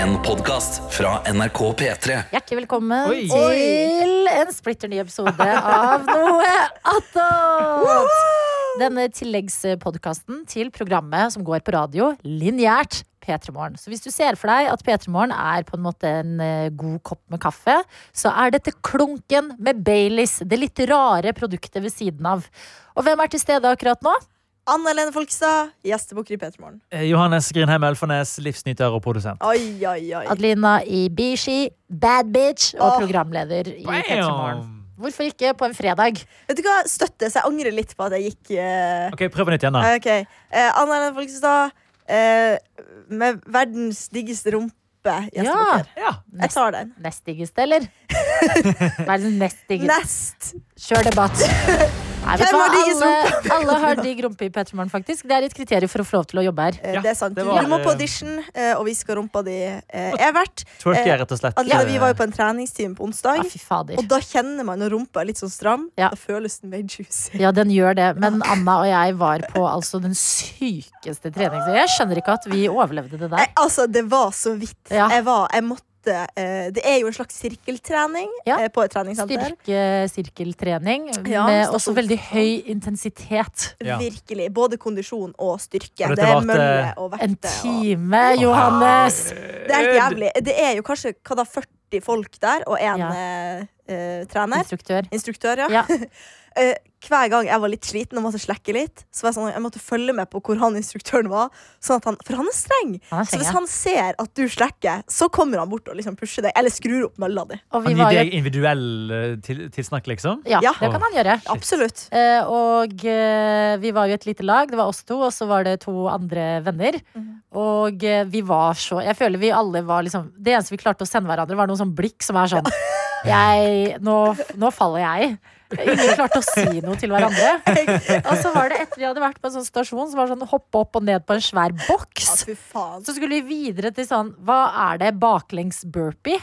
En podcast fra NRK P3 Hjertelig velkommen Oi. til en splitter ny episode av Noe attåt! Denne tilleggspodkasten til programmet som går på radio lineært. P3 Morgen. Så hvis du ser for deg at P3 Morgen er på en måte en eh, god kopp med kaffe, så er dette klunken med Baileys, det litt rare produktet ved siden av. Og hvem er til stede akkurat nå? Anne Helene Folkstad, gjestebukker i P3morgen. Eh, Johannes Grinheim Ølfarnes, livsnyter og produsent. Oi, oi, oi. Adelina Ibishi, bad bitch, og Åh. programleder i P3 Morgen. Bam! Hvorfor ikke på en fredag? Vet du hva? Støtte, så jeg angrer litt på at jeg gikk eh, Ok, Prøv på nytt igjen, da. Ok. Eh, Anne Helene Folkstad, eh, med verdens diggeste rumpe. Gjestebukker. Ja. Jeg tar den. Nest diggeste, eller? Verdens nest diggeste. Nest. Kjør debatt. Nei, vet du Hvem hva? har diggest Alle, alle har digg rumpe i Petermann, faktisk. Det er et kriterium for å få lov til å jobbe her. Eh, Ja, det er sant. det var- du må på audition, eh, og vi skal rumpa di eh, er verdt. Twerker, rett og slett. Adelina, eh, altså, vi var jo på en treningstime på onsdag. Ja, fy fader. Og da kjenner man når rumpa er litt sånn stram. Ja. Da føles den mer juicy. Ja, den gjør det. Men Anna og jeg var på altså den sykeste treningen. Jeg skjønner ikke at vi overlevde det der. Jeg, altså, det var så vidt. Ja. Jeg var Jeg måtte eh, Det er jo en slags sirkeltrening Ja. eh, på et treningssenter. Styrkesirkeltrening Ja, sånn- med stå også opp. veldig høy intensitet. Ja. Virkelig. Både kondisjon og styrke. Og dette eh, det er varte- mølle og En vekter. Og... time, Eh, Johannes! ah, Det er helt jævlig. Det er jo kanskje hva da, 40 folk der og én Ja. eh, trener. Instruktør. Instruktør, ja. Ja. Eh, hver gang jeg var litt sliten og måtte slekke litt, Så var jeg sånn, jeg måtte følge med på hvor han instruktøren var. Sånn at han, for han er streng. Han er Så streng, hvis ja. han ser at du slekker, så kommer han bort og liksom pusher deg. Eller skrur opp mølla di. Og vi Han var gir jo deg individuell eh, til, tilsnakk, liksom? Ja, Ja. det kan han gjøre. Absolutt. Eh, og eh, vi var jo et lite lag. Det var oss to, og så var det to andre venner. Og eh, vi var så Jeg føler vi alle var liksom Det eneste vi klarte å sende hverandre, var noen sånn blikk som er sånn jeg, nå, nå faller jeg. Ingen klarte å si noe til hverandre. Og så var det etter vi hadde vært på en sånn stasjon, så var det sånn hoppe opp og ned på en svær Ja, boks. fy faen. Så skulle vi videre til sånn Hva er det? Baklengs burpee?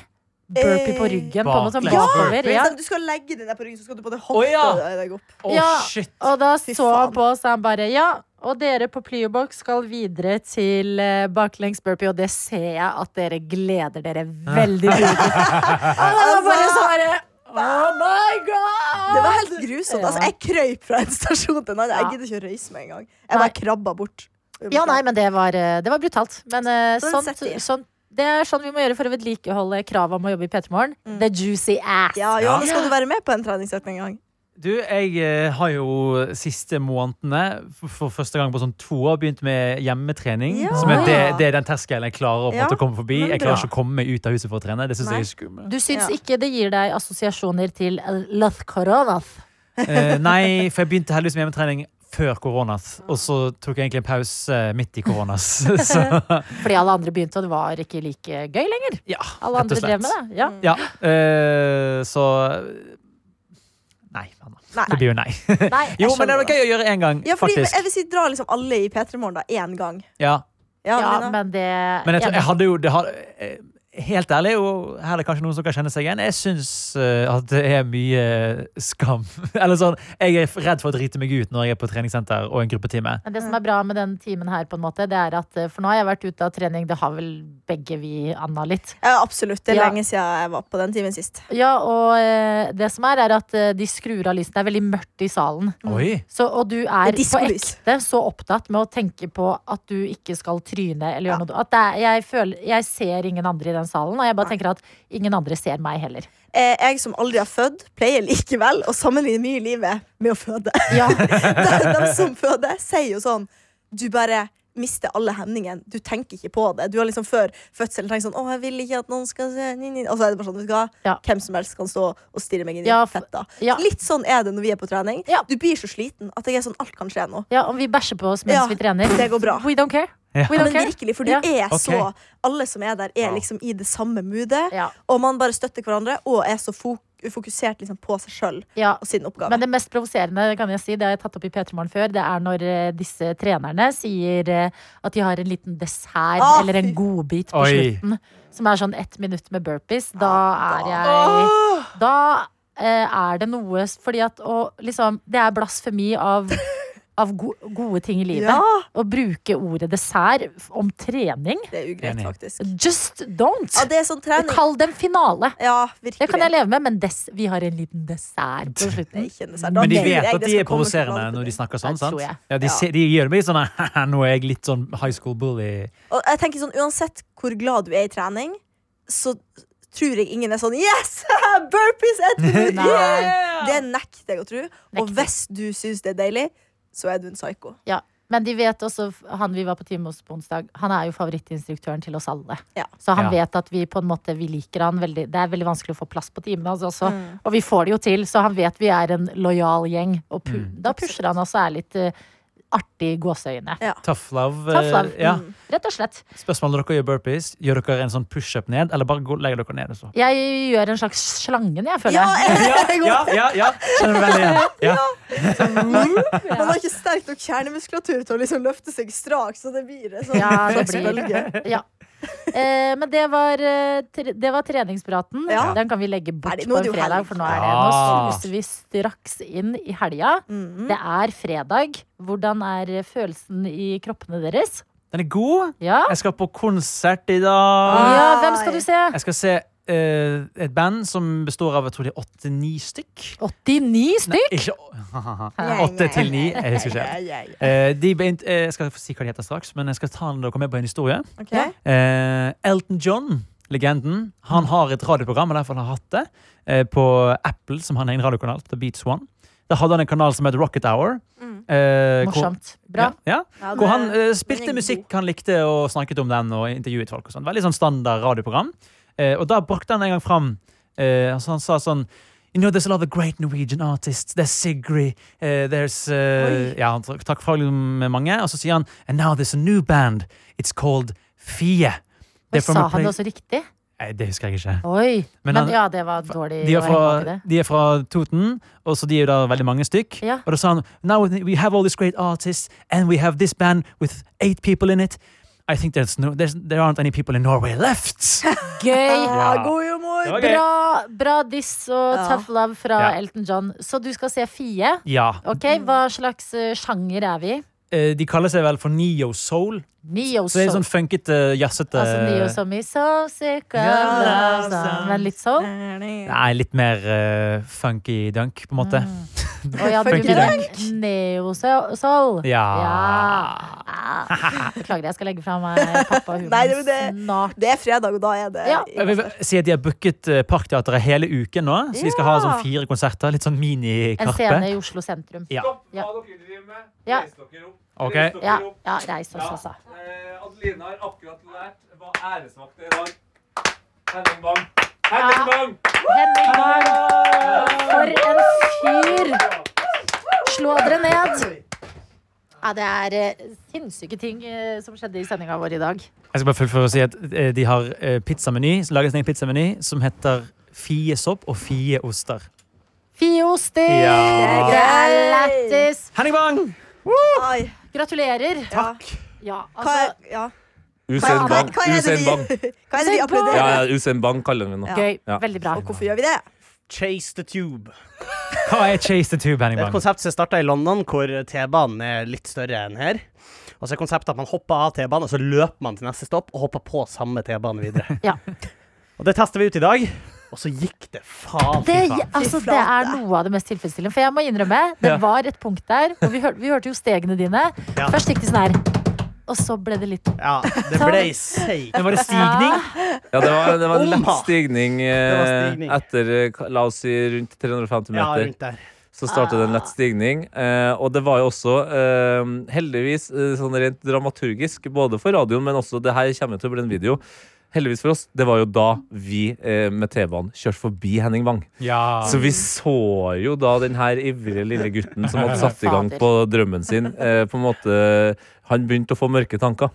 Burpee på ryggen? På en måte sånn Baklengs bakover? burpee? Ja. Så liksom, Du skal legge den der på ryggen, så skal du både hoppe Å, ja. og deg opp. Å, Ja. shit! Og da Fy så han faen. på oss, og han bare Ja, og dere på Plyobox skal videre til eh, baklengs burpee, og det ser jeg at dere gleder dere veldig mye til. Og det var bare så bare Oh my god! Altså, Det var helt grusomt. Ja. Altså, jeg krøyp fra en stasjon til en annen. Ja. Jeg gidder ikke å røyse meg engang. Jeg Nei. bare krabba bort. Ja, nei, men det var, eh, det var brutalt. Men eh, Så sånt, sett i. sånt det er sånn vi må gjøre for å vedlikeholde kravet om å jobbe i P3 Morgen. The juicy ass. Mm. Ja, Johanne, skal du være med på en treningssett en gang? Du, jeg eh, har jo siste månedene, for, for første gang på sånn to år, begynt med hjemmetrening. Ja. Som er det, det er den terskelen jeg klarer å, på en Ja, måte å komme forbi. men Jeg bra. klarer ikke å komme meg ut av huset for å trene. Det synes Nei. jeg er skummelt. Du syns Ja. ikke det gir deg assosiasjoner til Lath Coronas? Eh, nei, for jeg begynte heldigvis med hjemmetrening før koronas. Og så tok jeg egentlig en pause eh, midt i koronas. Så Fordi alle andre begynte, og det var ikke like gøy lenger. ja, Alle rett og andre drev slett. med det. Ja. Ja, eh, så Nei, Anna. Nei. Det blir jo nei. Mm. Nei, jeg Jo, men det skjønner. var gøy å gjøre én gang, Ja, fordi, faktisk. jeg vil si dra liksom alle i P3 Morgen da, én gang. Ja. Ja, Ja, Lina? men det Men jeg, Ja, tror, jeg hadde jo det hadde, eh, Helt ærlig, og her er det kanskje noen som kan kjenne seg igjen, jeg syns eh, at det er mye skam. Eller sånn, jeg er redd for å drite meg ut når jeg er på treningssenter og en gruppetime. men det som er bra med den timen her, på en måte, det er at eh, For nå har jeg vært ute av trening, det har vel begge vi, Anna, litt. Ja, absolutt. Det er Ja. lenge siden jeg var på den timen sist. Ja, og eh, det som er, er at eh, de skrur av lyset. Det er veldig mørkt i salen. Oi! Så, og du er Det er på diskolys. ekte så opptatt med å tenke på at du ikke skal tryne eller gjøre noe. At det er, jeg, føler, jeg ser ingen andre i den salen, og jeg bare tenker at ingen andre ser meg heller. Eh, Jeg som aldri har født, pleier likevel å sammenligne mye i livet med å føde. Ja, de, de som føder, sier jo sånn Du bare mister alle hemningene. Du tenker ikke på det. Du har liksom før fødselen tenkt sånn Å, jeg vil ikke at noen skal se ni, ni. Og så er det bare sånn, vet du hva? Ja. Hvem som helst kan stå og stirre meg inn i Ja, f- fetta. ja. Litt sånn er det når vi er på trening. Ja. Du blir så sliten at jeg er sånn Alt kan skje nå. ja om vi bæsjer på oss mens Ja, vi trener. det går bra. We don't care. Ja. We don't Men care. virkelig, for du Ja. er Ok. så Alle som er der, er Wow. liksom i det samme moodet. Ja. Og man bare støtter hverandre og er så fo- fokusert liksom på seg sjøl Ja, og sin oppgave. Men det mest provoserende kan jeg si, det har jeg tatt opp i P3 Morgen før, det er når eh, disse trenerne sier eh, at de har en liten dessert Å, eller en fy- godbit på Oi. slutten, som er sånn ett minutt med burpees. Da er jeg Åh! Da eh, er det noe s- Fordi at å liksom Det er blasfemi av av go gode ting i livet. Ja, Å bruke ordet dessert f- om trening. det er ugreit, Enig. faktisk. Just don't! Ja, det er sånn trening. Kall det en finale. Ja, Det kan jeg virkelig. leve med, men dess, vi har en liten dessert på Det er slutten. ikke en dessert. Da Men de tror jeg vet at det de skal er komme som provoserende alt når de snakker Ja, sånn. det tror sant? jeg. Ja, de, Ja. ser- de gir meg sånn Nå er jeg litt sånn high school bully. Og jeg tenker sånn, Uansett hvor glad du er i trening, så tror jeg ingen er sånn Yes! Burpees etterpå! Nei. Yeah! Det nekter jeg å tro. Og Nekter. hvis du syns det er deilig, så er du en psyko. Ja. Men de vet også, f- han vi var på time hos på onsdag, han er jo favorittinstruktøren til oss alle. Ja. Så han Ja. vet at vi på en måte, vi liker han veldig. Det er veldig vanskelig å få plass på timene hans også. Mm. Og vi får det jo til, så han vet vi er en lojal gjeng. Og pu Mm. da pusher han oss og er litt eh, artig i gåseøyne. Ja. Tough love. eh, Tough love. Ja. Mm. Rett og slett. Spørsmål når dere gjør burpees. Gjør dere en sånn pushup ned, eller bare går- legger dere ned? og Så. Jeg gjør en slags slangen, jeg føler. Ja, jeg. jeg- Ja, ja, ja. Kjenner veldig igjen. Ja. Sånn, Man har ikke sterk nok kjernemuskulatur til å liksom løfte seg straks, så det blir det sånn Ja, det blir- bølge. Ja. Eh, men det var, eh, tre- det var treningspraten. Ja. Den kan vi legge bort Nei, nå på er en det jo fredag, helg. for nå, er det, Ja. nå suser vi straks inn i helga. Mhm. Det er fredag. Hvordan er følelsen i kroppene deres? Den er god. Ja, Jeg skal på konsert i dag. ja hvem skal du se? Jeg skal se eh, et band som består av jeg tror det er åtte-ni stykk. 89 Nei, stykk! ikke Nei, Åtte nei, til ni. nei, Jeg husker ikke. Ja, ja, ja. Eh, de, be- eh, jeg skal få si hva de heter straks, men jeg skal ta den da dere med på en historie. Ok. Ja. Eh, Elton John, legenden, han har et radioprogram, eller i hvert fall har hatt det, eh, på Apple, som han har en radiokanal, The Beats One. Da hadde han en kanal som het Rocket Hour. Mm. eh, hvor- Morsomt. Bra. Ja, Ja, ja. Hvor han det- eh, den spilte er musikk han likte, og snakket om den og intervjuet folk. og sånn. Veldig sånn standard radioprogram. Eh, og da brakte han en gang fram eh, altså Han sa sånn You know, there's a lot of great Norwegian artists. There's Sigrid. eh, there's eh, Ja, han trakk trakk fram med mange. Og så sier han And now there's a new band. It's called Fie. Oi, They're from sa a han det også place- riktig? Nei, det husker jeg ikke. Oi. Men, Men han- ja, det var dårlig. De å henge er bak i fra, det. de er fra Toten, og så de er jo der veldig mange stykk. Ja. Og da sa han Now we have all these great artists, and we have this band with eight people in it. I think there's no, there's, there aren't any people in Norway left. Gøy! Ah, god humor! Det var gøy. Bra, bra diss og Ja. tough love fra Ja. Elton John. Så du skal se Fie. ja. Ok, Hva slags eh, sjanger er vi i? Eh, De kaller seg vel for Neo Soul. Neo Så det er soul. sånn funkete, jazzete Altså Neo som i So sick of Ja, love sånn. song. Men litt sånn? Nei, litt mer eh, funky dunk, på en måte. Mm. Å ja, du Funky mener Neo so- soul? Ja. Ja. Ah. Beklager, jeg skal legge fra meg pappa og hunden Nei, det- det- snart. Det er fredag, og da er det Ja. Jeg vil bare si at De har booket eh, Parkteatret hele uken nå, så de skal ha sånn fire konserter. Litt sånn En scene mini-Karpe. i Oslo sentrum. Ja. Stopp Ja. hva dere driver med. Ja. Reis dere opp. Ok. Reis dere Ja, opp. ja reis oss, Ja. altså. Eh, Adeline har akkurat lært hva æresvakt er i dag. Henning Bang. Henning Bang! Henning Bang, for en fyr! Slå dere ned. Ja, det er eh, sinnssyke ting eh, som skjedde i sendinga vår i dag. Jeg skal bare fullføre og si at eh, de har eh, pizzameny, så lages det en pizzameny som heter Fiesopp og Fieoster. Fioster! Ja. Det er lættis! Henning Bang! Ai, Gratulerer. ja. Ja, Hva er, altså, ja. Usain Hva, Bang. hva er det Usain Bang. vi, hva er det Usain vi Bang. applauderer? Ja, ja, Usain Bang kaller vi nå. Ja. gøy. Ja. Veldig bra. Hvorfor gjør vi det? Chase the Tube. Hva er Chase the Tube, Henning Det er et Bang? konsept som starta i London, hvor T-banen er litt større enn her. Og så er konseptet at man hopper av T-banen, og så løper man til neste stopp og hopper på samme T-bane videre. Ja. Og det tester vi ut i dag, og så gikk det faen Det, fy faen. altså, det er noe av det mest tilfredsstillende. For jeg må innrømme, det Ja. var et punkt der. Og vi hørte, vi hørte jo stegene dine. Ja. Først gikk de sånn her. Og så ble det litt Ja, det ble seigt. Men var det stigning? Ja, det var, det var en lett Omha. stigning var eh, stigning. etter eh, la oss si rundt 350 Ja, meter. rundt der. Så startet Ah. det en lett stigning. eh, Og det var jo også, eh, heldigvis, eh, sånn rent dramaturgisk, både for radioen, men også det her kommer jo til å bli en video. Heldigvis for oss, det var jo da vi eh, med T-banen kjørte forbi Henning Wang. Ja. Ah. Så vi så jo da den her ivrige lille gutten som hadde satt i gang på drømmen sin. Eh, på en måte, Han begynte å få mørke tanker.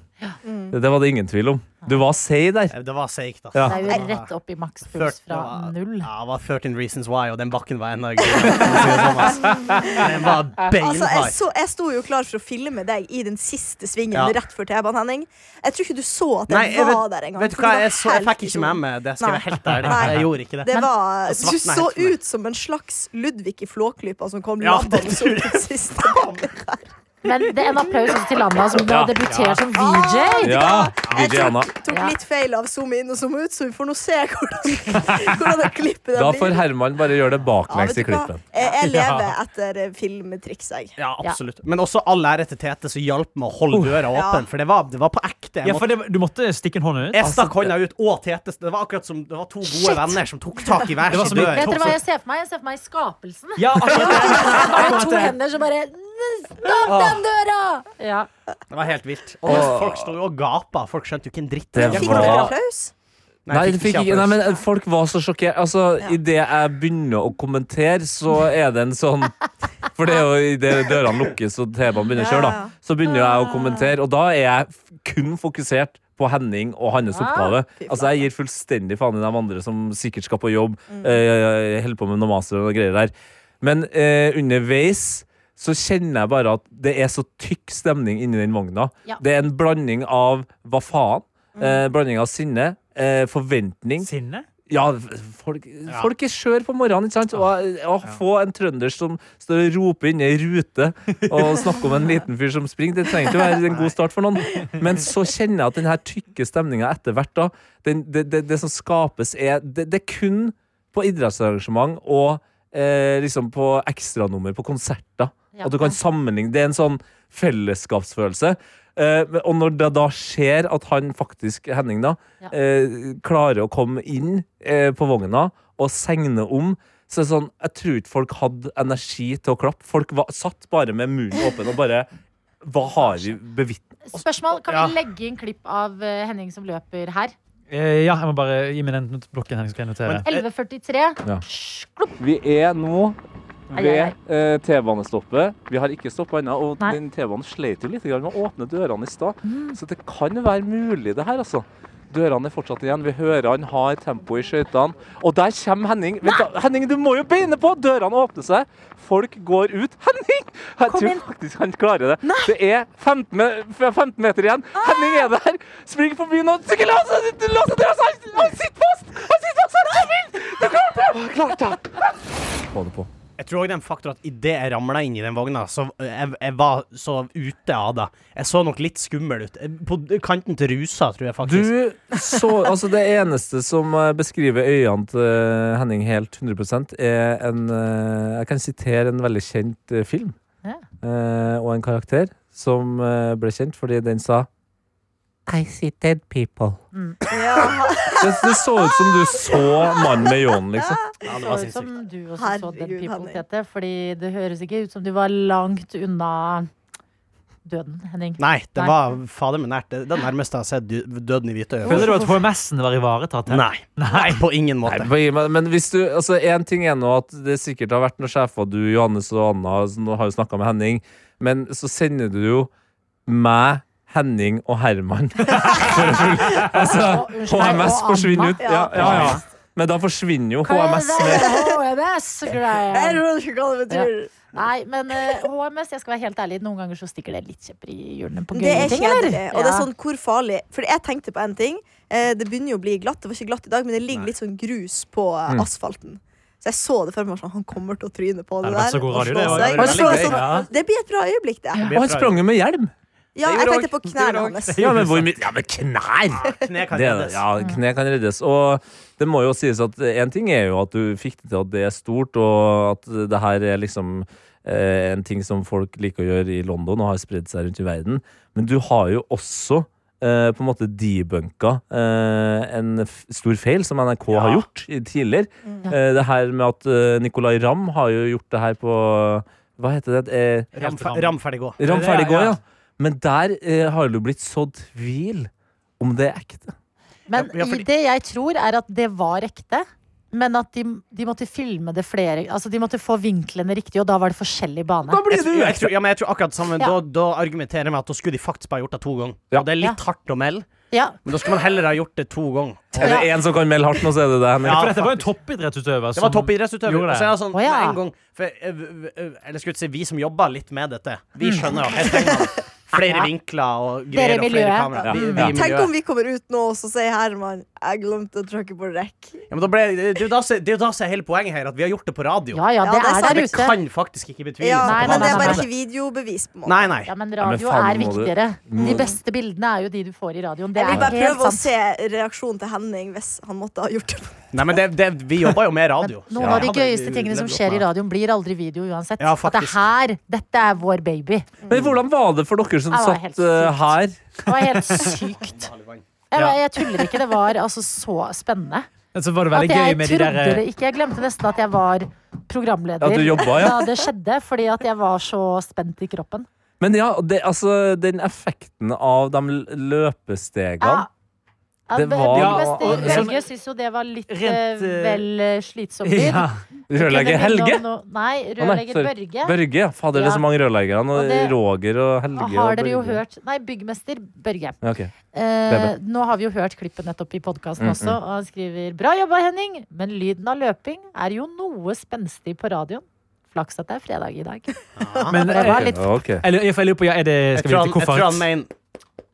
Det, det var det ingen tvil om. Du var seig der. Det var seigt, altså. Ja. Det er jo rett opp i makspuls Ført- fra det var- null. Ja, det var 13 Reasons Why, og den bakken var enda gøyere. sånn, altså. Den Altså, var jeg, beinhard. så, jeg sto jo klar for å filme deg i den siste svingen Ja. rett før T-banen, Henning. Jeg tror ikke du så at jeg Nei, jeg var vet, der engang. vet du for hva, det var jeg, så, jeg helt fikk ikke med meg det. Skal jeg være helt ærlig. Nei. Jeg gjorde ikke det. Det var, Og du svartne så helt for meg. ut som en slags Ludvig i Flåklypa som kom Ja, lavende det opp tror den siste. Men det er en applaus også til Anna, som nå Ja. debuterer som VJ. Ja, DJ Jeg Anna. tok, tok Ja. litt feil av zoome inn og zoome ut, så vi får nå se hvordan, hvordan det klippet det Da blir. får Herman bare gjøre Ja, det baklengs vet i du hva? klippen. Jeg, jeg lever etter eh, filmtriks, jeg. Ja, absolutt. Men også all ære til Tete, som hjalp meg å holde døra Oh. Ja. åpen. For det var, det var på ekte. Jeg, Ja, for Altså, måtte, det, du måtte stikke en hånd ut. jeg stakk hånda ut, og Tete Det var akkurat som det var to Shit. gode venner som tok tak i hver Det var som sin i- dør. Vet dere hva jeg ser for meg? Jeg ser for meg skapelsen. Ja, akkurat det. Bare akkurat to det. hender som bare Stopp den døra! Ja. Det var helt vilt. Og mens folk sto jo og gapa. Folk skjønte jo ikke en dritt. Det Jeg Fikk var- dere Ja. applaus? Nei, det fikk ikke, nei, applaus. men folk var så sjokkert. Altså, Idet jeg begynner å kommentere, så er det en sånn For det er jo idet dørene lukkes og TV-en begynner å kjøre, Ja, ja. da. Så begynner jeg å kommentere, og da er jeg f- kun fokusert på Henning og hans Ah, oppgave. fy flate. Altså, Jeg gir fullstendig faen i de andre som sikkert skal på jobb, Mm. eh, holder på med noe master og noe greier der. Men eh, underveis så kjenner jeg bare at det er så tykk stemning inni den vogna. Ja. Det er en blanding av hva faen, eh, blanding av sinne, eh, forventning Sinne? Ja, folk, folk er skjør på morgenen, ikke sant? Og eh, å få en trønder som står og roper inne i rute og snakker om en liten fyr som springer, det trenger ikke å være en god start for noen. Men så kjenner jeg at den her tykke stemninga etter hvert, da, den, det, det, det som skapes, er Det, det er kun på idrettsarrangement og eh, liksom på ekstranummer på konserter. Ja. At du kan sammenligne. Det er en sånn fellesskapsfølelse. Eh, men- og når det da skjer at han faktisk, Henning, da, Ja. eh, klarer å komme inn eh, på vogna og segne om så er det sånn, Jeg tror ikke folk hadde energi til å klappe. Folk var, satt bare med munnen åpen og bare Hva har vi bevitnet? Spørsmål, kan Ja. vi legge inn klipp av eh, Henning som løper her? Eh, ja, jeg må bare gi meg den not- blokken her, så skal jeg notere. Men- 11.43. Ja. Sj, klopp. Vi er nå Ai, ai, ai. ved eh, T-banestoppet. Vi har ikke stoppa ennå, og Nei. Mm. den T-banen sleit jo litt grann med å åpne dørene i stad. Så det kan være mulig, det her, altså. Dørene er fortsatt igjen. Vi hører han har tempo i skøytene. Og der kommer Henning. Vent da, Henning, du må jo beine på! Dørene åpner seg. Folk går ut. Henning! Jeg tror faktisk han klarer det. Det er 15, me- f- 15 meter igjen. Ah! Henning er der. Springer forbi nå. Ikke lås lås døra! så Altså, Han han sitter fast! Han sitter fast! Han kommer inn! Du klarte det! Klarte det! Få det på. Jeg tror òg det er en faktor at idet jeg ramla inn i den vogna, så jeg, jeg var så ute av det. Jeg så nok litt skummel ut. På kanten til rusa, tror jeg faktisk. Du så Altså, det eneste som eh, beskriver øynene til eh, Henning helt 100 er en eh, Jeg kan sitere en veldig kjent eh, film Ja. eh, og en karakter som eh, ble kjent fordi den sa I see dead people. Ja, Det, det så ut som du så mannen med ljåen, liksom. Ja, det Så var ut som sinnssykt. du også så den Herregud, people, Henning. Tete. Fordi det høres ikke ut som du var langt unna døden, Henning. Nei, det Nei. var fader meg nært. Det, det nærmeste jeg har sett du- døden i hvite øyne. Føler du at HMS-en var ivaretatt her? Nei. På ingen Nei, måte. bare gi meg- men hvis du Altså, én ting er nå at det sikkert har vært noen sjefer, du, Johannes og Anna, som nå har jo snakka med Henning, men så sender du jo meg, Henning og Herman. Altså, Å, unnskyld meg, HMS og forsvinner Anna. ut. Ja, ja, ja. Men da forsvinner jo Hva er HMS. det Med. jeg HMS-greia. tror ikke hva det betyr. Nei, men eh, HMS, jeg skal være helt ærlig, noen ganger så stikker det litt kjepper i hjulene på Det gøye er ting, kjedelig. eller? Og det er Ja. sånn, hvor farlig For jeg tenkte på en ting. Eh, Det begynner jo å bli glatt. Det var ikke glatt i dag, men det ligger litt sånn grus på eh, asfalten. Så jeg så det for meg sånn, han kommer til å tryne på Det hadde det, vært der. så god og radio, slå det var- seg. det var Og slå veldig seg. gøy. Ja. Det blir et bra øyeblikk, det. Og han sprang jo med hjelm! Ja, jeg tenkte på knærne hans. Ja, men hvor mye Ja, men knær! Kne kan Det, er det. reddes. ja, kne kan reddes. Og det må jo sies at én ting er jo at du fikk det til at det er stort, og at det her er liksom eh, en ting som folk liker å gjøre i London og har spredd seg rundt i verden. Men du har jo også eh, på en måte debunka eh, en f stor feil som NRK har gjort i- tidligere. Eh, det her med at eh, Nicolay Ramm har jo gjort det her på Hva heter det? Eh, Ram, fe- ram ferdig gå. Ram Det er- ferdig går, ja. ja. Men der eh, har det jo blitt sådd tvil om det er ekte. Men Ja, ja, fordi- i det jeg tror er at det var ekte, men at de, de måtte filme det flere Altså de måtte få vinklene riktig, og da var det forskjellig bane. Jeg, tror- jeg, tror, ja, men jeg tror akkurat det samme. Ja. Da, da argumenterer jeg med at da skulle de faktisk bare gjort det to ganger. Ja. Og det er litt hardt å melde, Ja, men da skulle man heller ha gjort det to ganger. Er det én som kan melde hardt nå, så er det deg. Henrik. For dette var jo en toppidrettsutøver. Det var som- toppidrettsutøver. Gjorde det. Og så er jeg sånn, Å, ja. eh, med en gang, for, eh, v- v- eller skulle jeg si, vi som jobber litt med dette, vi skjønner jo helt en gang. Flere vinkler og Mm. Dere i greier. Og flere miljøet. kamera. Ja. Vi, vi i Ja. Tenk om miljøet. vi kommer ut nå og så sier Herman Jeg glemte å trykke på rekk. Ja, men da ble, det er jo da som- det er jo da som er hele poenget her, at vi har gjort det på radio. Ja, ja, Ja, det det er er sant. der det ute. kan faktisk ikke betviles. Ja, Nei, at men det er det var nei, bare det. ikke videobevis på en måte. Nei, nei. Ja, men Ja, men radio faen er må du- viktigere. De Mm. beste bildene er jo de du får i radioen. Det Jeg er vil bare helt prøve sant. å se reaksjonen til Henning hvis han måtte ha gjort det. nei men det, det, vi jobber jo med radio. Noen så av de hadde vi gøyeste tingene levd som opp skjer i med- radioen, blir aldri video uansett. Ja, At det faktisk. her, dette er vår baby. Men hvordan var det for dere som Ja, det var helt satt eh, her? Det var helt sykt. Jeg, Ja. jeg tuller ikke. Det var altså så spennende. Så var det At veldig gøy jeg med de trodde der eh, det ikke. Jeg glemte nesten at jeg var programleder At du jobba, ja. da det skjedde, fordi at jeg var så spent i kroppen. Men ja, det, altså, den effekten av de l- løpestegene Ja, Det be- var- Bjørn Ja, og- Wester- Helge syns jo det var litt eh, Rent, eh, vel eh, slitsom lyd. ja. Rørlegger Kunne minne Helge? om noe- Nei, Å, nei, rørlegger sorry. Børge. Børge. ja. Fader, det er Ja. så mange rørleggere. Og Og det- Roger og Helge. Og Har og dere jo Børge. hørt Nei, byggmester Børge. Ja, ok. Eh, Bebe. nå har vi jo hørt klippet nettopp i podkasten Mm, også, og han skriver Bra jobba, Henning, men lyden av løping er jo noe spenstig på radioen. Flaks at det er fredag i dag. Det Men Det var jeg, litt Ja, ok. jeg, jeg lurer på ja, er det, Jeg Skal tror vi han, til jeg tror han koffert? mener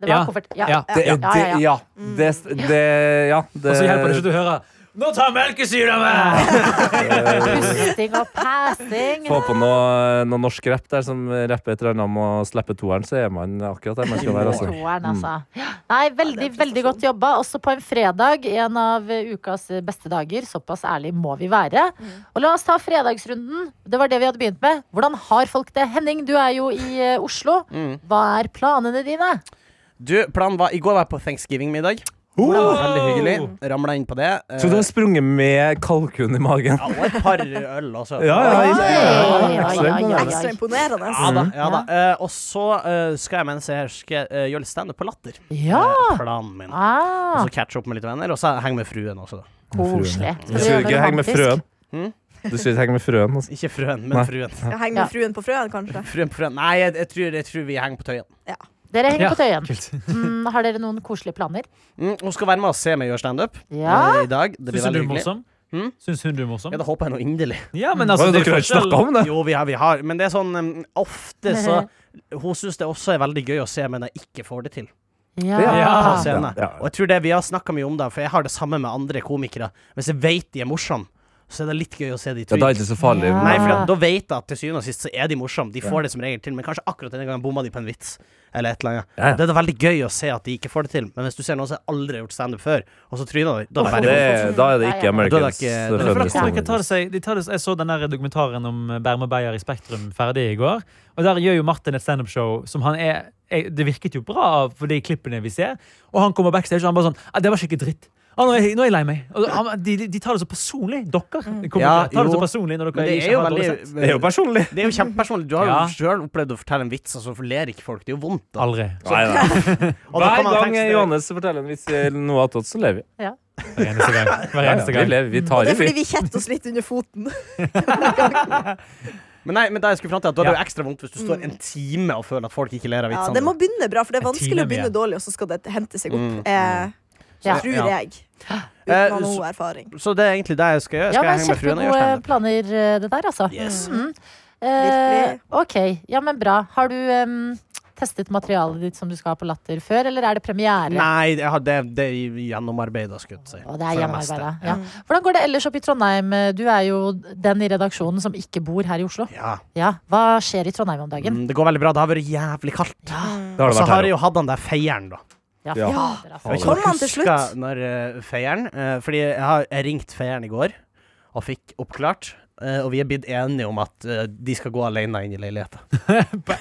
var Ja. koffert. Ja. Det, Ja, Mm. ja, ja. det, ja. Det, det, ja det, Og så hjelper eh, det ikke at du hører Nå tar melkesyra meg! Pusting og passing. eh, Få på noe, noe norsk rapp der som rapper et eller annet om å slippe toeren, så er man akkurat der man skal være. Altså. Toeren, altså. Nei, veldig, veldig godt jobba. Også på en fredag, en av eh, ukas beste dager. Såpass ærlig må vi være. Og la oss ta fredagsrunden. Det var det vi hadde begynt med. Hvordan har folk det? Henning, du er jo i eh, Oslo. Mm. Hva er planene dine? Du, planen var I går var jeg på thanksgiving-middag. Veldig hyggelig. Ramla inn på det. Eh, Så du har sprunget med kalkun i magen? ja, og et par øl også. ja, Oi, ja, oi, oi, oi, oi. Ekstra imponerende. Ja da. Ja, da. Eh, og så eh, skal jeg mens jeg hersker, uh, gjøre litt standup på Latter. Ja! Eh, planen min. Og Ah, så catche opp med litt venner, og så henge med fruen også, da. koselig. Skal Du du skulle gjøre ikke noe henge med frøen. romantisk? Mm. Du skulle ikke henge med frøen. Altså. Ikke fruen, men Nei. fruen. Skal henge Ja. med fruen på frøen, kanskje. Fruen på fruen. Nei, jeg, jeg, tror, jeg tror vi henger på Tøyen. Dere henger Ja, på Tøyen. kult. Mm, har dere noen koselige planer? Mm, hun skal være med og se meg gjøre standup Ja. eh, i dag. Det Syns hun du blir veldig er hyggelig. morsom? Hmm? Syns hun du er morsom? Ja, det håper jeg nå inderlig. Ja, men Altså, altså, det dere er har ikke snakka forskjell. om det? Jo, vi har, vi har. Men det er sånn um, ofte så Hun syns det også er veldig gøy å se, men jeg ikke får det til. på Ja. scenen. Ah. Ja, ja. Og jeg tror det vi har snakka mye om, da, for jeg har det samme med andre komikere. Hvis jeg veit de er morsomme, så er det litt gøy å se de Ja, da er det tryne. ikke så farlig. Ja. Nei, Men, for da- da vet jeg at til syvende og sist så er de morsomme. De får det som regel til, men kanskje akkurat denne gangen bomma de på en vits. Eller et eller annet. Ja, ja. Det er da veldig gøy å se at de ikke får det til. Men hvis du ser noen som aldri har gjort standup før, og så tryner de, da er det det, da bare er det ikke Da er Americans. det eh, ikke- det da er det For da føles kommer ikke ta som- det seg, de tar det, jeg så den der dokumentaren om Berme Beyer i Spektrum ferdig i går. Og Der gjør jo Martin et standup-show som han er er- Det virket jo bra av for de klippene vi ser. Og han kommer backstage og han bare sånn «Ah, Det var skikkelig dritt. Ah, nå, er jeg, nå er jeg lei meg. Og han, de, de- de tar det så personlig, dere. Kommer, Mm. Ja, tar det så jo. personlig når dere Men det ikke er jo har dårlig veldig sett. Det er jo personlig. Det er jo kjempepersonlig. Du har jo Ja. sjøl opplevd å fortelle en vits, og så ler ikke folk. Det er jo vondt. Da. Aldri. Nei, nei. Og da kan Hver man gang tenke seg- Johannes forteller en vits eller noe attåt, så lever vi. Hver eneste gang. Hver Ja, ja, eneste vi. gang. lever, Vi tar Det er i, vi. fordi vi kjetter oss litt under foten. Men nei, men da jeg skulle fram til at da er det jo Ja. ekstra vondt hvis du står en time og føler at folk ikke ler av Ja, vitsene. det må begynne bra, for det er Jeg vanskelig timer å mye. begynne dårlig, og så skal det hente seg Mm. opp. Eh, Ja. Tror Ja. jeg. Uten å Eh, ha så- noe erfaring. Så det er egentlig det jeg skal gjøre. Ja, Skal men jeg henge med fruen og gjøre kjempegode standup? planer, eh, det der, altså. Yes. Mm. Eh, Virkelig. ok, ja, men bra. Har du em, testet materialet ditt som du skal ha på Latter før, eller er det premiere? Nei, jeg har det, det er gjennomarbeida, skulle jeg si. Og det er For det meste. hjemmearbeidet. Ja. Mm, Hvordan går det ellers opp i Trondheim? Du er jo den i redaksjonen som ikke bor her i Oslo. Ja. Ja, Hva skjer i Trondheim om dagen? Mm, Det går veldig bra. Det har vært jævlig kaldt. mm. Det har Og det så vært har her jeg òg. jo hatt han der feieren, da. Ja, Ja. fader, altså. Ja. Jeg vet ikke Kom om dere han til husker slutt? Når eh, feieren eh, Fordi jeg har jeg ringt feieren i går og fikk oppklart. eh, og vi er blitt enige om at eh, de skal gå alene inn i leiligheten.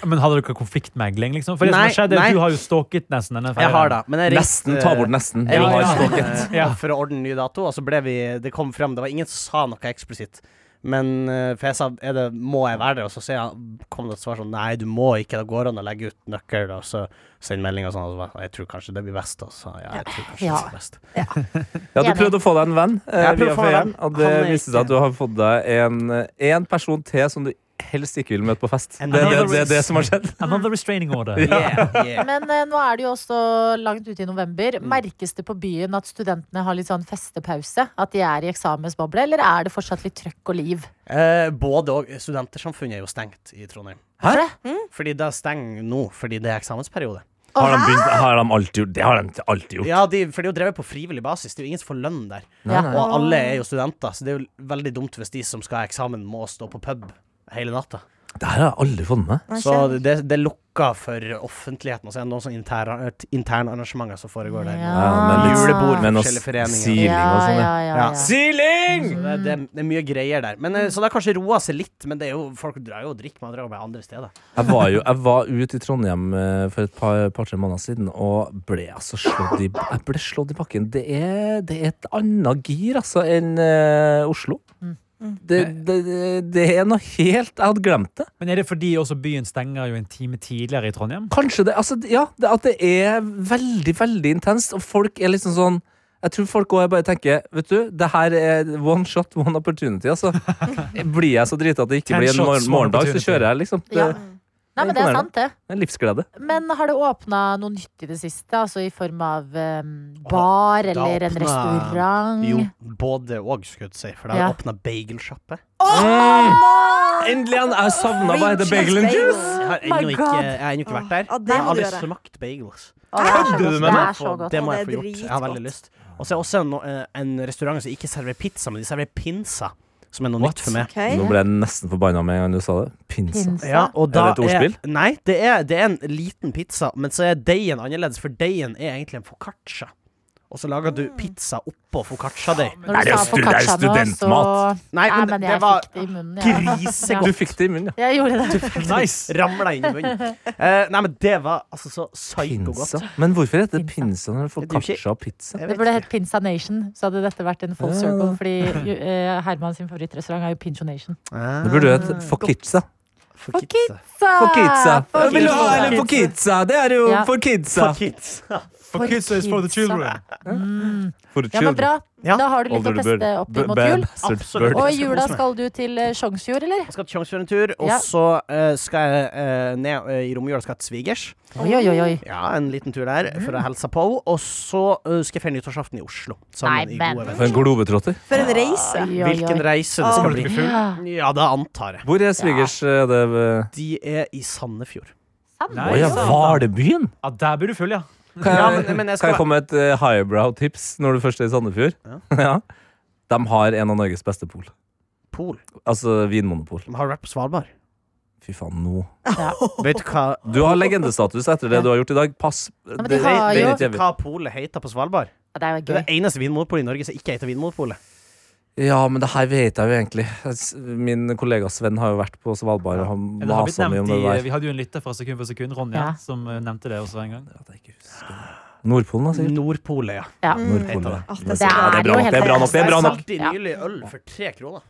Men hadde dere konfliktmegling, liksom? For det Nei, som har skjedd, er nei. at du har jo stalket nesten denne Jeg har det, men jeg ringte Nesten. Ta bort nesten. Jeg Vi Ja, har ja. stått Ja. ja. for å ordne ny dato, og så ble vi Det kom fram, det var ingen som sa noe eksplisitt. Men eh, for jeg sa er det, må jeg være der, og så sier jeg, kom det et svar sånn Nei, du må ikke, det går an å legge ut nøkkel, og så sende melding og sånn. Og så bare, jeg tror kanskje det blir best, og så ja, jeg tror kanskje Ja. det blir best. Ja, du Enig. prøvde å få deg en venn eh, Jeg prøvde via å få meg en Feieren, venn. og det Han er viste seg ikke- at du har fått deg en, en person til som du helst ikke vil møte på fest. Det, And det, det, another det er det is- som har skjedd. Another restraining order. Yeah, yeah. Men eh, nå er det jo også langt ute i Mm. november. Merkes det på byen at studentene har litt sånn festepause? At de er i eksamensboble, eller er det fortsatt litt trøkk og liv? Eh, både og Studentersamfunnet er jo stengt i Trondheim. Hvorfor det? Fordi det stenger nå, fordi det er eksamensperiode. Har de, begynt, har de alltid gjort det? har de alltid gjort. Ja, de, For det er jo drevet på frivillig basis. Det er jo ingen som får lønn der. Ja. Og alle er jo studenter, så det er jo veldig dumt hvis de som skal ha eksamen, må stå på pub hele natta. Det her har jeg aldri fått med. Jeg Så skjønner. det, det er lukka for offentligheten. Og så er det noen sånne interne interne arrangementer som foregår der. Ja. men litt- Ah. Julebord men med å forskjellige foreninger. siling og sånn. ja, ja. ja, Ja. ja. Siling! Så det, det, det er mye greier der. Men, eh, så det har kanskje roa seg litt, men det er jo, folk drar jo og drikker. Man drar jo bare andre steder. Jeg var jo jeg var ute i Trondheim eh, for et par-tre måneder siden og ble altså slått i, jeg ble slått i bakken. Det er, det er et annet gir altså enn eh, Oslo. Mm. Det, det, det- det er noe helt Jeg hadde glemt det. Men er det fordi også byen stenger jo en time tidligere i Trondheim? Kanskje det Altså, ja. Det, at det er veldig, veldig intenst, og folk er liksom sånn jeg tror folk også bare tenker Vet du, det her er one shot, one opportunity. Altså. Blir jeg så drita at det ikke Ten blir en mor shots, one morgendag, så opportunity. kjører jeg, liksom. Det Ja. Nei, men det er imponerende. sant, det. er en livsglede. Men har det åpna noe nytt i det siste? Altså i form av eh, bar Da eller en åpna- restaurant? Jo, både og, skulle jeg si. For det Mm. har Ja. åpna bagelsjappe. Mm. Endelig! Jeg har savna bare The Free Bagel and cheese Juice. Jeg har my ennå ikke, God. jeg har ennå ikke vært der. Ja, det jeg må har du aldri gjøre. smemkt bagels. Å, det er så Kødder du godt. med det meg? er så godt. Det må Å, jeg det er få gjort. Jeg har veldig dritgodt. lyst. Og så er det også en, eh, en restaurant som ikke serverer pizza, men de serverer pinsa. Som er noe nytt for meg. Ok. Nå ble jeg nesten forbanna med en gang du sa det. Pinsa. Pinsa. Ja, og Er da det et ordspill? Er, nei, det er, det er en liten pizza, men så er deigen annerledes, for deigen er egentlig en foccaccia. Og så lager du pizza oppå foccaccia-deig. Mm. Når Nei, det du er sa jo stu- det er jo focaccia nå, studentmat. så- Nei, Nei, men men det jeg var fikk det i munnen. Ja. Grisegodt. Du fikk det i munnen, ja. Jeg gjorde det. Nice! Ramla inn i munnen. Eh, nei, men det var altså så psyko-godt. Pinsa. Men hvorfor heter det Pinsa. pinsa når du får Det er jo ikke- kacha og pizza? Det Jeg vet burde ikke. hett Pinsa Nation, så hadde dette vært en full circle. Fordi jo- eh, Herman sin favorittrestaurant er jo Pincho Nation. Det burde jo Ah, Ah. hete Fokitsa. For For kids. For kidsa. Ah, For Jeg vil ha kidsa. en for kidsa. Det er jo Ja. for kidsa. For kids. For kids is for the children. Ja, men bra. Ja. Da har du litt å Older bird. teste opp B- mot bad jul. bastard Absolutt. bird. Og i jula skal du til eh, Sjongsfjord, eller? Jeg skal til Tjongsfjord en tur, og Ja. så eh, skal jeg eh, ned eh, i romjula skal jeg til svigers. Oi, oi, oi. oi. Ja, en liten tur der for å hilse på henne. Og så eh, skal jeg feire nyttårsaften i Oslo. Sammen Nei, i men- gode For venner. en globetrotter. For en reise. Oi, oi, Hvilken oi. reise det skal Åh. bli. Ja. Ja, det antar jeg. Hvor er svigers eh, det ved- De er i Sandefjord. Sand. Å ja, Vardøbyen? Ja, der blir du full, ja. Kan Ja, jeg, men- men jeg kan skal jeg komme med et eh, highbrow-tips når du først er i Sandefjord? Ja. De har en av Norges beste pol. Pol. Altså vinmonopol. De har vært på Svalbard. Fy faen, nå Vet du hva, Du har legendestatus etter det du har gjort i dag. Pass. men de det, det, har det jo- er vet ikke du evig. hva polet heter på Svalbard? Ja, Det er jo Det er gøy. det eneste vinmonopolet i Norge som ikke heter Vinmonopolet. Ja, men det her vet jeg jo egentlig. S- Min kollega Sven har jo vært på Svalbard og han Det har blitt masa mye nevnt om det i, eh, der. vi hadde jo en lytter fra Sekund for sekund, Ronja, Ja. som eh, nevnte det også en gang. At jeg ikke husker det. Nordpolen, da, Mm. sikkert. Nordpolet, ja. Ja. Nordpolen. heter det. ja. Åh, det er Det så bra. det er er jo bra nok, det er helt bra nok, det er bra nok. Jeg solgte Ja. nylig øl for tre kroner.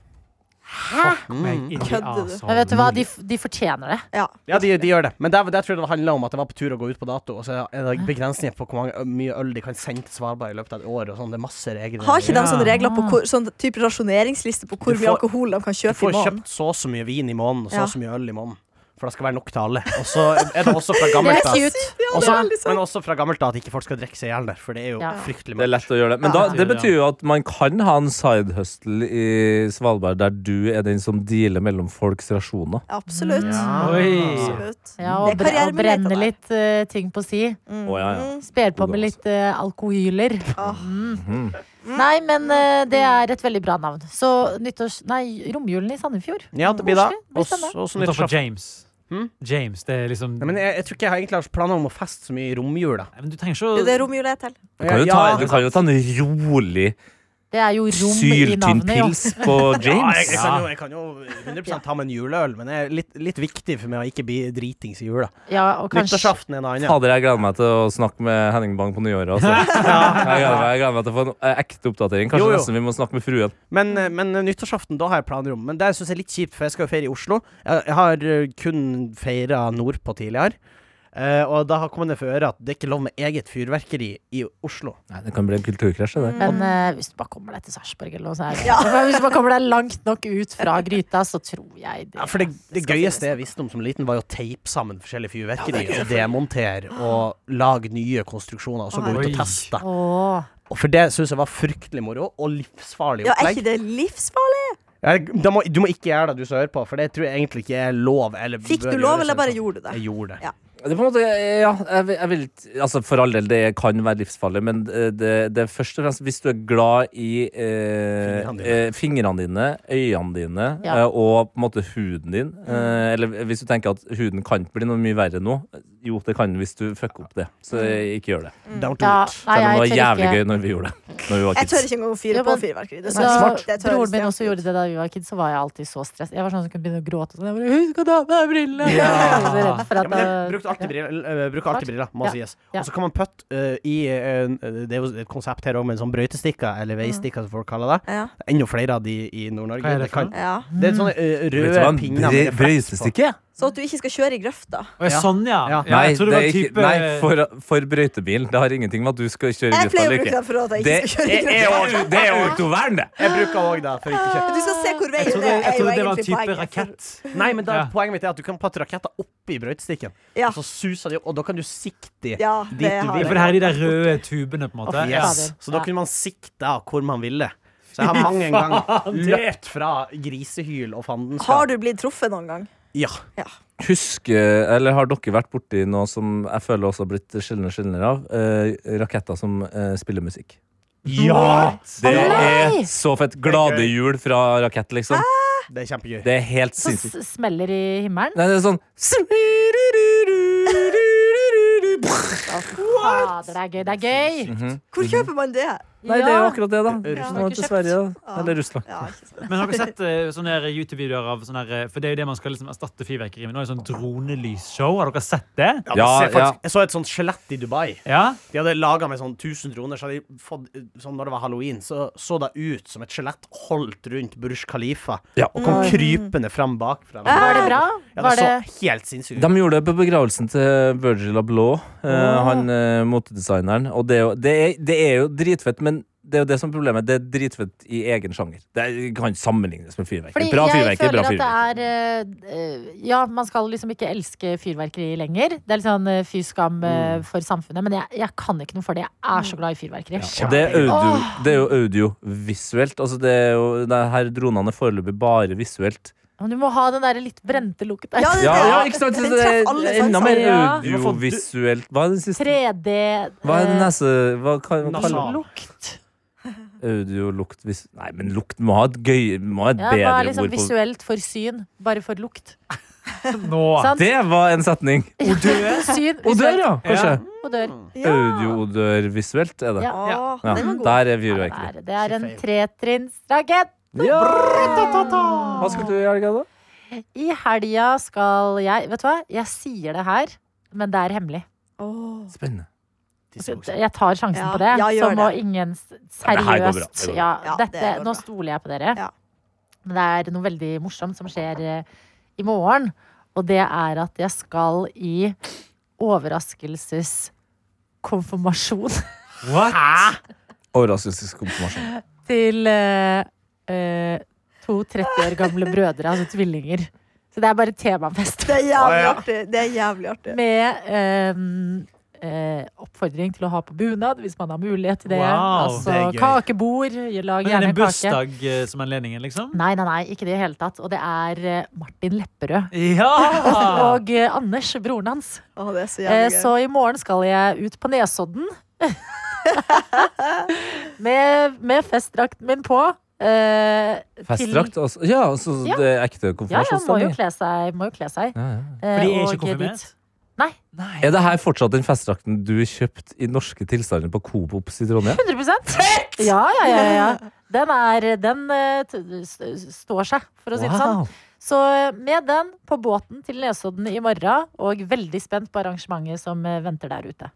Men jeg- Kødder du? Ja, så Men vet du hva, mulig. de, f- de fortjener det. Ja. Ja, de, de gjør det. Men der, der tror jeg det handla om at det var på tur å gå ut på dato. Og så er det begrensninger på hvor mange, mye øl de kan sende til Svalbard i løpet av et år. Og sånn. det er masse regler. Har ikke de Ja. sånne regler på hvor, sånn type rasjoneringsliste på hvor Du mye får- alkohol de kan Du kjøpe i får måneden? kjøpt så og så mye vin i måneden og så Ja. og så mye øl i måneden. For det skal være nok til alle. Og så er det også fra Det gammelt er av cute. også, det er veldig sant. Men også fra gammelt av at ikke folk skal drikke seg i hjel der. For det er jo Ja. Det er fryktelig mye. lett å gjøre det. Men da, det betyr jo at man kan ha en side hustle i Svalbard, der du er den som dealer mellom folks rasjoner. Absolutt. Oi. Absolutt. Ja, og, Det bre er og karrieremuligheter brenne der. litt eh, ting på si. Mm. Å, ja, ja. Sper på God med dag, litt eh, alkohyler. Ah. Mm. Nei, men eh, det er et veldig bra navn. Så nyttårs... Nei, romjulen i Sandefjord. Ja, det blir da. Koselig. Det blir Og så spennende. og så Du tar for nyttårsaften. James. Hm? James, det er liksom Nei, Men jeg, jeg tror ikke jeg har egentlig har planer om å feste så mye i romjula. Nei, men du trenger Det er ikke det å romjula er til. Du kan jo ta, du kan jo ta en rolig, Det er jo rom i syltynn navnet. jo. pils på Ja, jeg, James. jeg, kan jo, jeg kan jo 100 ta med en juleøl, men det er litt, litt viktig for meg å ikke bli dritings i jula. Ja, og kanskje Nyttårsaften er en annen. Fader, jeg gleder meg til å snakke med Henning Bang på nyåret. Altså. Jeg, gleder meg, jeg gleder meg til å få en eh, ekte oppdatering. Kanskje Jo, jo. nesten vi må snakke med fruen. Men, eh, men nyttårsaften, da har jeg planer om. Men det syns jeg er litt kjipt, for jeg skal jo feire i Oslo. Jeg, jeg har eh, kun feira nordpå tidligere. Eh, Eh, og da har kommet det for øre at det er ikke lov med eget fyrverkeri i Oslo. Nei, det kan bli en kulturkrasj. Mm. det der. Men eh, hvis du bare kommer deg til Sarpsborg eller noe, så er det greit. Hvis du bare kommer deg langt nok ut fra gryta, så tror jeg det. Ja, for det, det gøyeste jeg visste om som liten, var jo å teipe sammen forskjellige fyrverkeri. og demontere og lage nye konstruksjoner, og så gå ut og Oi. teste. Åh. Og for det syns jeg var fryktelig moro, og livsfarlig Ja, er ikke opplegg. det livsfarlig? Ja, da må, du må ikke gjøre det, du som hører på, for det tror jeg egentlig ikke er lov. Eller Fikk bør du lov, gjøres, eller bare sånn. gjorde du det? Jeg gjorde det. Ja. Det er på en måte, ja, jeg, vil- jeg vil, altså For all del, det kan være livsfarlig, men eh, det, det er først og fremst hvis du er glad i eh, Fingrene dine. eh, fingrene dine, øynene dine Ja. eh, og på en måte huden din. Mm. Eh, eller hvis du tenker at huden kan ikke bli noe mye verre nå. Jo, det kan hvis du fucker opp det. Så Mm. eh, ikke gjør det. Don't do Ja, it. nei, Selv om det var jeg tør jævlig ikke. gøy når vi gjorde det. Når vi var Jeg tør kids. ikke engang å Ja, fyre på men- fyrverkeri. Det Da synes jeg- det tør broren min jeg også ikke. gjorde det da vi var kids, så var jeg alltid så stress. Jeg var sånn som kunne begynne å gråte. og Sånn. Jeg bare, Husk å ta på deg brillene! Ja. Jeg var så redd for Ja, at men jeg da- brukte alltid briller, eh, bruker alltid briller må Ja. sies. Ja. Og så kan man putte eh, i eh, en- Det er jo et konsept her òg, med sånn brøytestikker, eller veistikker, som folk kaller det. Ja. Det er Enda flere av de i Nord-Norge. Hva er det Det, kan- for Ja. det er sånne eh, Vet røde du hva en pinner bre- med refleks på. brøytestykke? Så at du ikke skal kjøre i grøfta. Å, ja, Sånn, ja. Ja. ja Nei, jeg det trodde det er var ikke, type nei for, for brøytebil. Det har ingenting med at du skal Jeg kjøre pleier grøfta å eller bruke ikke. det for at jeg Det ikke skal kjøre i er grøfta. jo det er jo autovern, det! Jeg bruker òg det. For ikke kjøtt. Du skal se hvor veien Jeg er. trodde, jeg er jo trodde det var egentlig type poenget, for- rakett. Nei, men da, Ja. poenget mitt er at du kan putte raketter oppi brøytestikken, Ja. og så suser de opp, og da kan du sikte de. Ja, det Dit du har Ja, vil. jeg. for det her er de der røde tubene, på en måte. Å, fy Ja. fader. Yes. Så da kunne man sikta hvor man ville. Så jeg har mange en gang løpt fra grisehyl og fandenskap. Har du blitt truffet noen gang? Ja. Husker, eller har dere vært borti noe som jeg føler også har blitt sjeldnere og sjeldnere av? Eh, raketter som eh, spiller musikk. Ja! Det nei! er så fett. Glade jul fra rakett, liksom. Det er kjempegøy. Det er helt Så sinnssykt. s- smeller i himmelen. Nei, det er sånn Fader, det er gøy. Det er gøy! Hvor kjøper man det? Nei, det er jo akkurat det, da. Russland. Nå til Sverige, da. Eller Russland. Ja, ikke sant. Men har dere sett eh, sånne her YouTube-videoer av sånne her, eh, For det er jo det man skal liksom erstatte fyrverkeri med. Nå er det sånn dronelysshow. Har dere sett det? Ja, Ja, men se, faktisk, ja. Jeg så et sånt skjelett i Dubai. Ja? De hadde laga med sånn 1000 kroner, så hadde de fått eh, sånn når det var halloween, så så det ut som et skjelett holdt rundt Burj Khalifa Ja. og kom krypende fram bakfra. Mm. Var det bra? Ja, Var det det så helt sinnssykt ut. De gjorde det på begravelsen til Virgil Abloh, eh, Åh. han eh, motedesigneren. Og det er, jo, det, er, det er jo dritfett, men det er jo det som er problemet. Det er dritfett i egen sjanger. Det er- kan ikke sammenlignes med fyrverkeri. Fordi Bra jeg fyrverkeri, føler bra at fyrverkeri. det er eh, eh, Ja, man skal liksom ikke elske fyrverkeri lenger. Det er litt sånn eh, fy skam Mm. eh, for samfunnet, men jeg, jeg kan ikke noe for det. Jeg er så glad i fyrverkeri. Og det er, audio, det er jo audiovisuelt. Altså det er jo, det her dronene er foreløpig bare visuelt. Men du må ha den derre litt brente looken der. Ja, det- Ja, ja ikke sant? Så Den det treffer alle er enda sansene. mer Ja. audiovisuelt. Hva er den siste? 3D Hva er den eh, neste? Hva kan man kalle Nasal. lukt. audiolukt vis... Nei, men lukt må ha et gøy Må ha et Ja, hva er bedre liksom ord på visuelt for syn, bare for lukt? Nå. Sant? Det var en setning! Odør. Syn, Odør, ja! Kanskje. Ja. Odør. Ja. Audio-odør visuelt er det. Ja. Å, Ja, den var god. der er Ja, det, fyrverkeri. er, det er en tretrinnsrakett. Ja! Hva skal du i helga, da? I helga skal jeg Vet du hva, jeg sier det her, men det er hemmelig. Åh. Spennende. Jeg tar sjansen Ja, på det. ja, gjør så må det. ingen s- Ja, det her går bra, seriøst det går bra. ja, Ja, det dette, går bra. Nå stoler jeg på dere. Ja. Men det er noe veldig morsomt som skjer eh, i morgen. Og det er at jeg skal i overraskelseskonfirmasjon What? Overraskelseskonfirmasjon. til eh, eh, to 30 år gamle brødre, altså tvillinger. Så det er bare temafest. Det er Å, jævlig ja. artig. Det er jævlig artig. Med ehm, eh, oppfordring til å ha på bunad hvis man har mulighet til det. Wow, altså det er gøy. kakebord. Lag Men er det gjerne en kake. bursdag eh, som anledningen, liksom? Nei, nei, nei, ikke det i det hele tatt. Og det er eh, Martin Lepperød. Ja! Og eh, Anders, broren hans. Å, det er så Eh, jævlig gøy. så i morgen skal jeg ut på Nesodden. med, med festdrakten min på. eh, til- Festdrakt? altså. Ja, altså Ja. det er Ja, ekte ja, må jo konfirmasjonsstemning. kle seg. Må jo kle seg. Ja, ja. Eh, For de er og ikke konfirmert? dit. Nei. Er det her fortsatt den festdrakten du kjøpte i norske tilstander på Coop-ops i Trondheim? 100 Ja, ja, ja, ja. Den er Den eh, t- st- står seg, for å si det sånn. Wow. Så eh, med den på båten til Nesodden i morgen, og veldig spent på arrangementet som eh, venter der ute.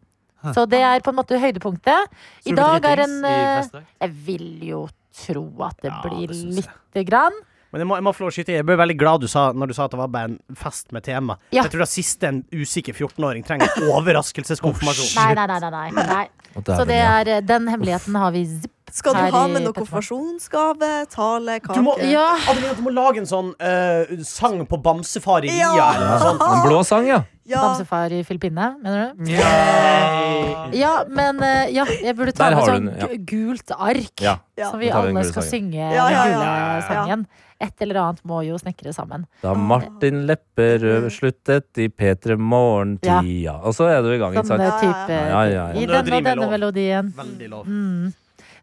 Så det er på en måte høydepunktet. I dag er en eh, Jeg vil jo tro at det Ja, blir det syns jeg. lite grann. Men jeg må, jeg må få lov å skyte i. Jeg ble veldig glad du sa, når du sa at det var bare en fest med tema. Ja. Jeg tror det siste en usikker 14-åring trenger, er overraskelseskonfirmasjon. Nei, nei, nei. nei, nei, nei. Så det er, eh, den hemmeligheten har vi zipp. Skal Her du ha i med noe Petra. konfirmasjonsgave? Tale? Kake? Du må, Ja. Adelina, du må lage en sånn eh, sang på bamsefar i Ria. Ja. Eller noe sånt. En blå sang, ja. ja. Bamsefar i Filippinene, mener du? Yay. Ja, men eh, ja, jeg burde ta Der med har du sånn den, ja. gu- gult ark. Ja, Ja. Som vi Da tar vi den alle gule skal sangen. synge ja, ja, den ja, gule ja. sangen. Et eller annet må jo snekre sammen. Da Martin Lepperød sluttet i P3 Morgen-tida. Og så er du i gang, ikke Samme sant? Sånn, Ja, ja, ja. eh, type Ja, ja, ja. I denne og Melodi med denne lov. melodien. Veldig lov. Mm.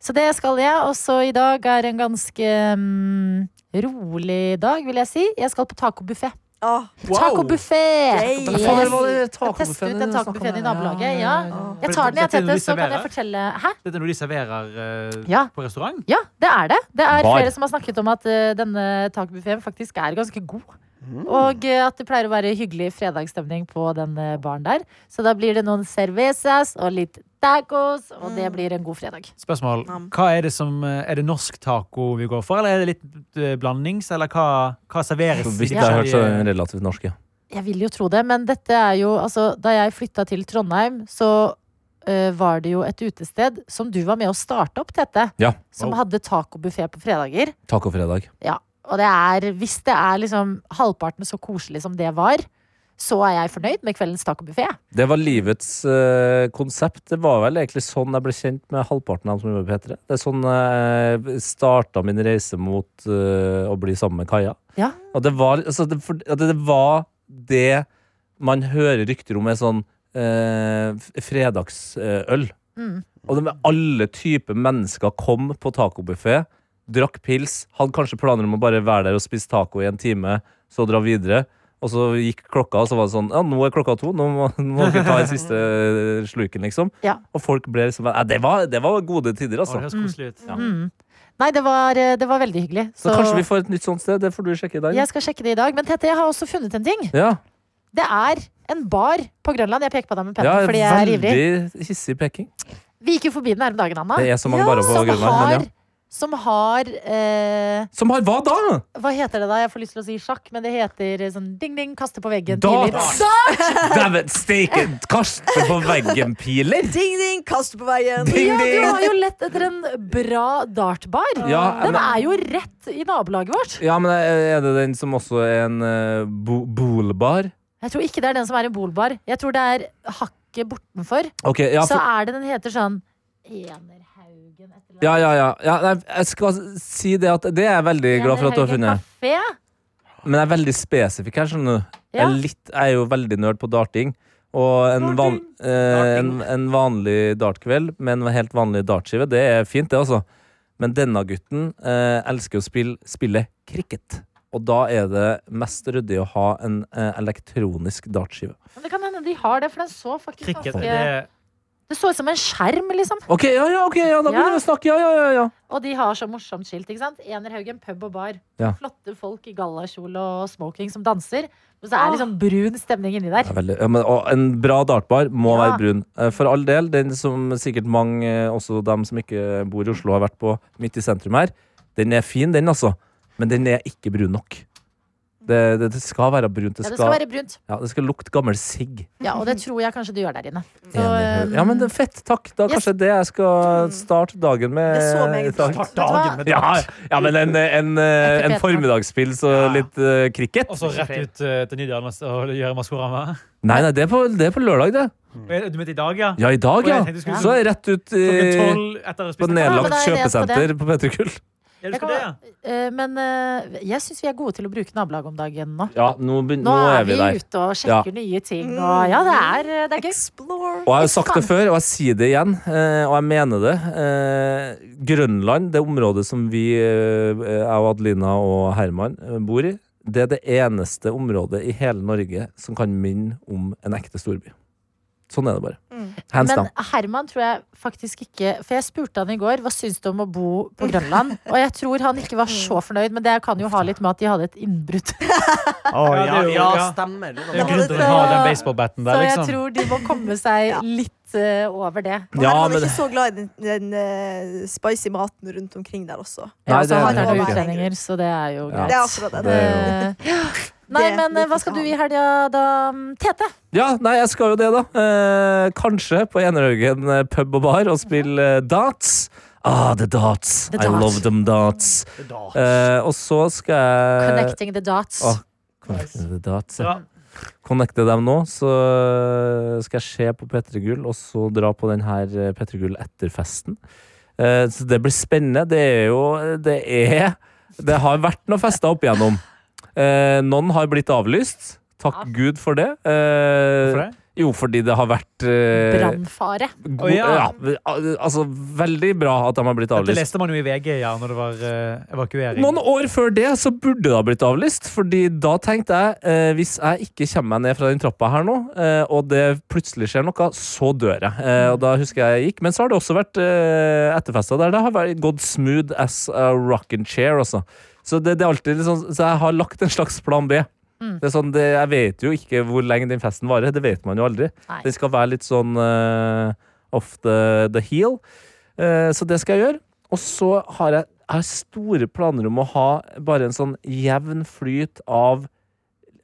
Så det skal jeg. Og så i dag er en ganske mm, rolig dag, vil jeg si. Jeg skal på tacobuffé. Ah, Tacobuffé! Yay. Yes. Faen, det var Jeg tester ut den tacobuffeen i nabolaget. Ja. ah. Jeg tar den, jeg, Dette er noe Tete, de så kan jeg serverer? fortelle Hæ? Dette er noe de serverer eh, Ja. på restaurant? Ja, det er det. Det er Bar. flere som har snakket om at eh, denne tacobuffeen faktisk er ganske god. Mm. Og eh, at det pleier å være hyggelig fredagsstemning på den eh, baren der. Så da blir det noen cervezas og litt tacos, og Mm. det blir en god fredag. Spørsmål. Nam. Hva Er det som eh, Er det norsk taco vi går for, eller er det litt eh, blandings? Eller hva, hva serveres? Så i vidt jeg har hørt, så er forskjellige- den relativt norsk, ja. Jeg vil jo tro det, men dette er jo altså, Da jeg flytta til Trondheim, så eh, var det jo et utested som du var med å starte opp, Tete. Ja. Som Wow. hadde tacobuffé på fredager. Tacofredag. Og det er, hvis det er liksom halvparten så koselig som det var, så er jeg fornøyd med kveldens tacobuffé. Det var livets eh, konsept. Det var vel egentlig sånn jeg ble kjent med halvparten av dem som jobber på P3. Det er sånn jeg starta min reise mot eh, å bli sammen med Kaja. Ja. Og det var, altså, det, for, at det var det man hører rykter om er sånn eh, f- fredagsøl. Mm. Og det med alle typer mennesker kom på tacobuffé, drakk pils, hadde kanskje planer om å bare være der og spise taco i en time, så dra videre. Og så gikk klokka, og så var det sånn Ja, nå er klokka to. Nå må, nå må dere ta den siste sluken, liksom. Ja. Og folk ble liksom ja, det, var, det var gode tider, Å, det altså. høres koselig ut. Mm. Nei, det var, eh, det var veldig hyggelig. Så kanskje vi får et nytt sånt sted. Det får du sjekke i dag. jeg skal sjekke det i dag. Men Tete, jeg har også funnet en ting. Ja, Det er en bar på Grønland. Jeg peker på deg med ja pennen fordi jeg er ivrig. veldig hissig peking. Vi gikk jo forbi den her om dagen, Anna. Det er så mange barer på Som Grønland. har, Men ja. som har eh, Som har hva da? Hva heter det da? Jeg får lyst til å si sjakk, men det heter eh, sånn ding-ding, kaste på veggen. Dart. piler. Dæven steike! Kaste på veggen-piler! Ding, ding, kast på veien! Ding, Ja, du ding! har jo lett etter en bra dartbar. Ja, den men- er jo rett i nabolaget vårt. Ja, men er det den som også er en eh, bo bolbar? Jeg tror ikke det er den som er en bolbar. Jeg tror det er hakket bortenfor. Ok, ja, Så for, er det den heter sånn Enerhaugen et eller ja, ja, ja. ja nei, jeg skal si det at det er jeg veldig glad for at du har funnet. Kafé. Men jeg er veldig spesifikk her, skjønner du. Jeg, Ja. er litt, jeg er jo veldig nerd på darting. Og en, van, eh, en, en vanlig dartkveld med en helt vanlig dartskive, det er fint, det, altså. Men denne gutten eh, elsker å spille, spille cricket. Og da er det mest ryddig å ha en eh, elektronisk dartskive. Men det kan hende de har det, for den så faktisk Cricket ganske det, det... så ut som en skjerm, liksom. OK, ja, ja, ok, ja, Ja. da begynner vi å snakke. Ja, ja, ja, ja. Og de har så morsomt skilt. ikke sant? Enerhaugen pub og bar. Ja. Flotte folk i gallakjole og smoking som danser. Men så er det liksom brun stemning inni der. Ja, veldig, ja, men, og en bra dartbar må Ja. være brun. Eh, For all del, den som sikkert mange, eh, også dem som ikke bor i Oslo, har vært på midt i sentrum her, den er fin, den altså. Men den er ikke brun nok. Det, det, det skal være brunt. Det Ja, skal, det skal være brunt. ja, det skal lukte gammel sigg. Ja, Og det tror jeg kanskje du gjør der inne. Så, eh, Enig. Ja, men det er fett. Takk. Yes. Da Mm. kanskje det jeg skal starte dagen med. Det er så meget i dag. bra. dagen med Ja, ja, men en, en, eh, en Etter P3. formiddagspils og Ja. litt eh, cricket? Og så rett ut eh, til Nydalen og s- og gjøre Maskorama. Nei, nei, det er på, det er på lørdag, det. Du mente i dag, ja? Ja, i dag, Og jeg ja. tenkte du skulle- Så er jeg rett ut Klokken i tolv etter å På spise nedlagt Ja, men da er jeg kjøpesenter på P3 Gull. Ja, du Jeg skal kan, det, ja. eh, men eh, jeg syns vi er gode til å bruke nabolaget om dagen nå. Ja, nå, begyn- Nå er vi ute og sjekker nye ting, og ja, det er, eh, det er gøy. Explore! Og jeg har jo sagt det før, og jeg sier det igjen, eh, og jeg mener det. Eh, Grønland, det området som vi, eh, jeg og Adelina og Herman, eh, bor i, det er det eneste området i hele Norge som kan minne om en ekte storby. Sånn er det bare. Mm. Hands down. Men Herman tror jeg faktisk ikke For jeg spurte han i går hva syns du om å bo på Grønland. Og jeg tror han ikke var så fornøyd, men det kan jo ha litt med at de hadde et innbrudd. Å, Ja, ja, det er jo- ja, ja. stemmer. Det er jo Ja, grunn til det å ha tror jeg. den baseballbatten Så der, jeg liksom. tror de må komme seg litt litt eh, over det. Og Ja, han er men- ikke så glad i den, den eh, spicy maten rundt omkring der også. Nei, Ja, det så er han det er jo ikke. utlendinger, så det er jo Ja. greit. Det er akkurat det. Det- Eh, ja. Nei, Det men eh, hva liker skal du han. i helga da, mm, Tete? Ja, nei, jeg skal jo det, da. Eh, kanskje på Enerhaugen eh, pub og bar og spille eh, darts. Ah, the darts. The I darts. love them darts. Eh, og så skal jeg Connecting the dots. Eh, Åh, Connecting the dots. Ja. Bra. Connecte dem nå, så skal jeg se på P3 Gull, og så dra på den her eh, P3 Gull etter festen. Eh, Så det blir spennende. Det er jo Det er Det har vært noen fester opp igjennom. Eh, Noen har blitt avlyst. Takk Gud for det. Eh, Hvorfor det? Jo, fordi det har vært eh, Brannfare. god- Å, ja. ja, al- Altså, veldig bra at de har blitt Dette avlyst. leste man jo i VG ja, når det var eh, evakuering. Noen år før det så burde det ha blitt avlyst, Fordi da tenkte jeg eh, hvis jeg ikke kommer meg ned fra den trappa her nå, eh, og det plutselig skjer noe, så dør jeg. Eh, og da husker jeg jeg gikk. Men så har det også vært eh, etterfester der det har vært gått smooth as a rocking chair. Også. Så, det, det er alltid litt sånn- så jeg har lagt en slags plan B. Mm. Det er sånn, det, jeg vet jo ikke hvor lenge den festen varer. Det vet man jo aldri. Nei. Den skal være litt sånn eh, off the, the heel. Eh, så det skal jeg gjøre. Og så har jeg, jeg har store planer om å ha bare en sånn jevn flyt av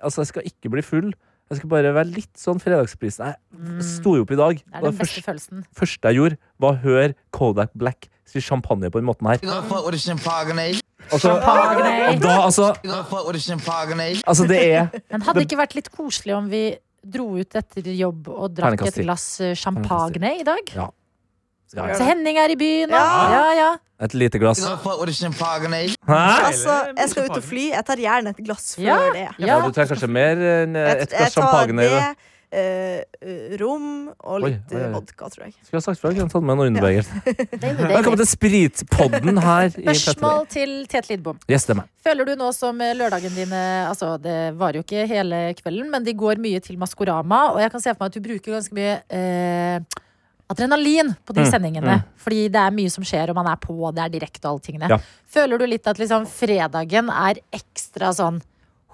Altså, jeg skal ikke bli full. Jeg skal bare være litt sånn fredagsprisen. Mm. Jeg sto jo opp i dag. Det er og den første, beste følelsen. første jeg gjorde, var å høre Kodak Black si champagne på den måten her. You gonna fuck with a champagne? Altså, Champagne. og da, altså, You gonna fuck with a champagne? altså Det er Men hadde det ikke vært litt koselig om vi dro ut etter jobb og drakk Terningkast et ti. glass eh, champagne i dag? ja, Så Altså, Henning er i byen, og Ja. ja, ja. et lite glass. You gonna fuck with a champagne? Hæ? Altså, jeg skal ut og fly. Jeg tar gjerne et glass før Ja. det. Ja, ja. du trenger kanskje mer enn eh, Jeg, et glass tar champagne. det, i det. eh, rom og Oi, litt oi, oi. eh, vodka, tror jeg. Skulle ha sagt fra, jeg kunne tatt med en underbeger. Deilig, Velkommen deilig. til Spritpodden her i Petter. Spørsmål til Tete Lidbom. Yes, det er meg. Føler du nå som eh, lørdagen dine Altså, det varer jo ikke hele kvelden, men de går mye til Maskorama, og jeg kan se for meg at du bruker ganske mye eh, adrenalin på de Mm, sendingene. Fordi det er mye som skjer, og man er på, og det er direkte og alle tingene. Ja. Føler du litt at liksom fredagen er ekstra sånn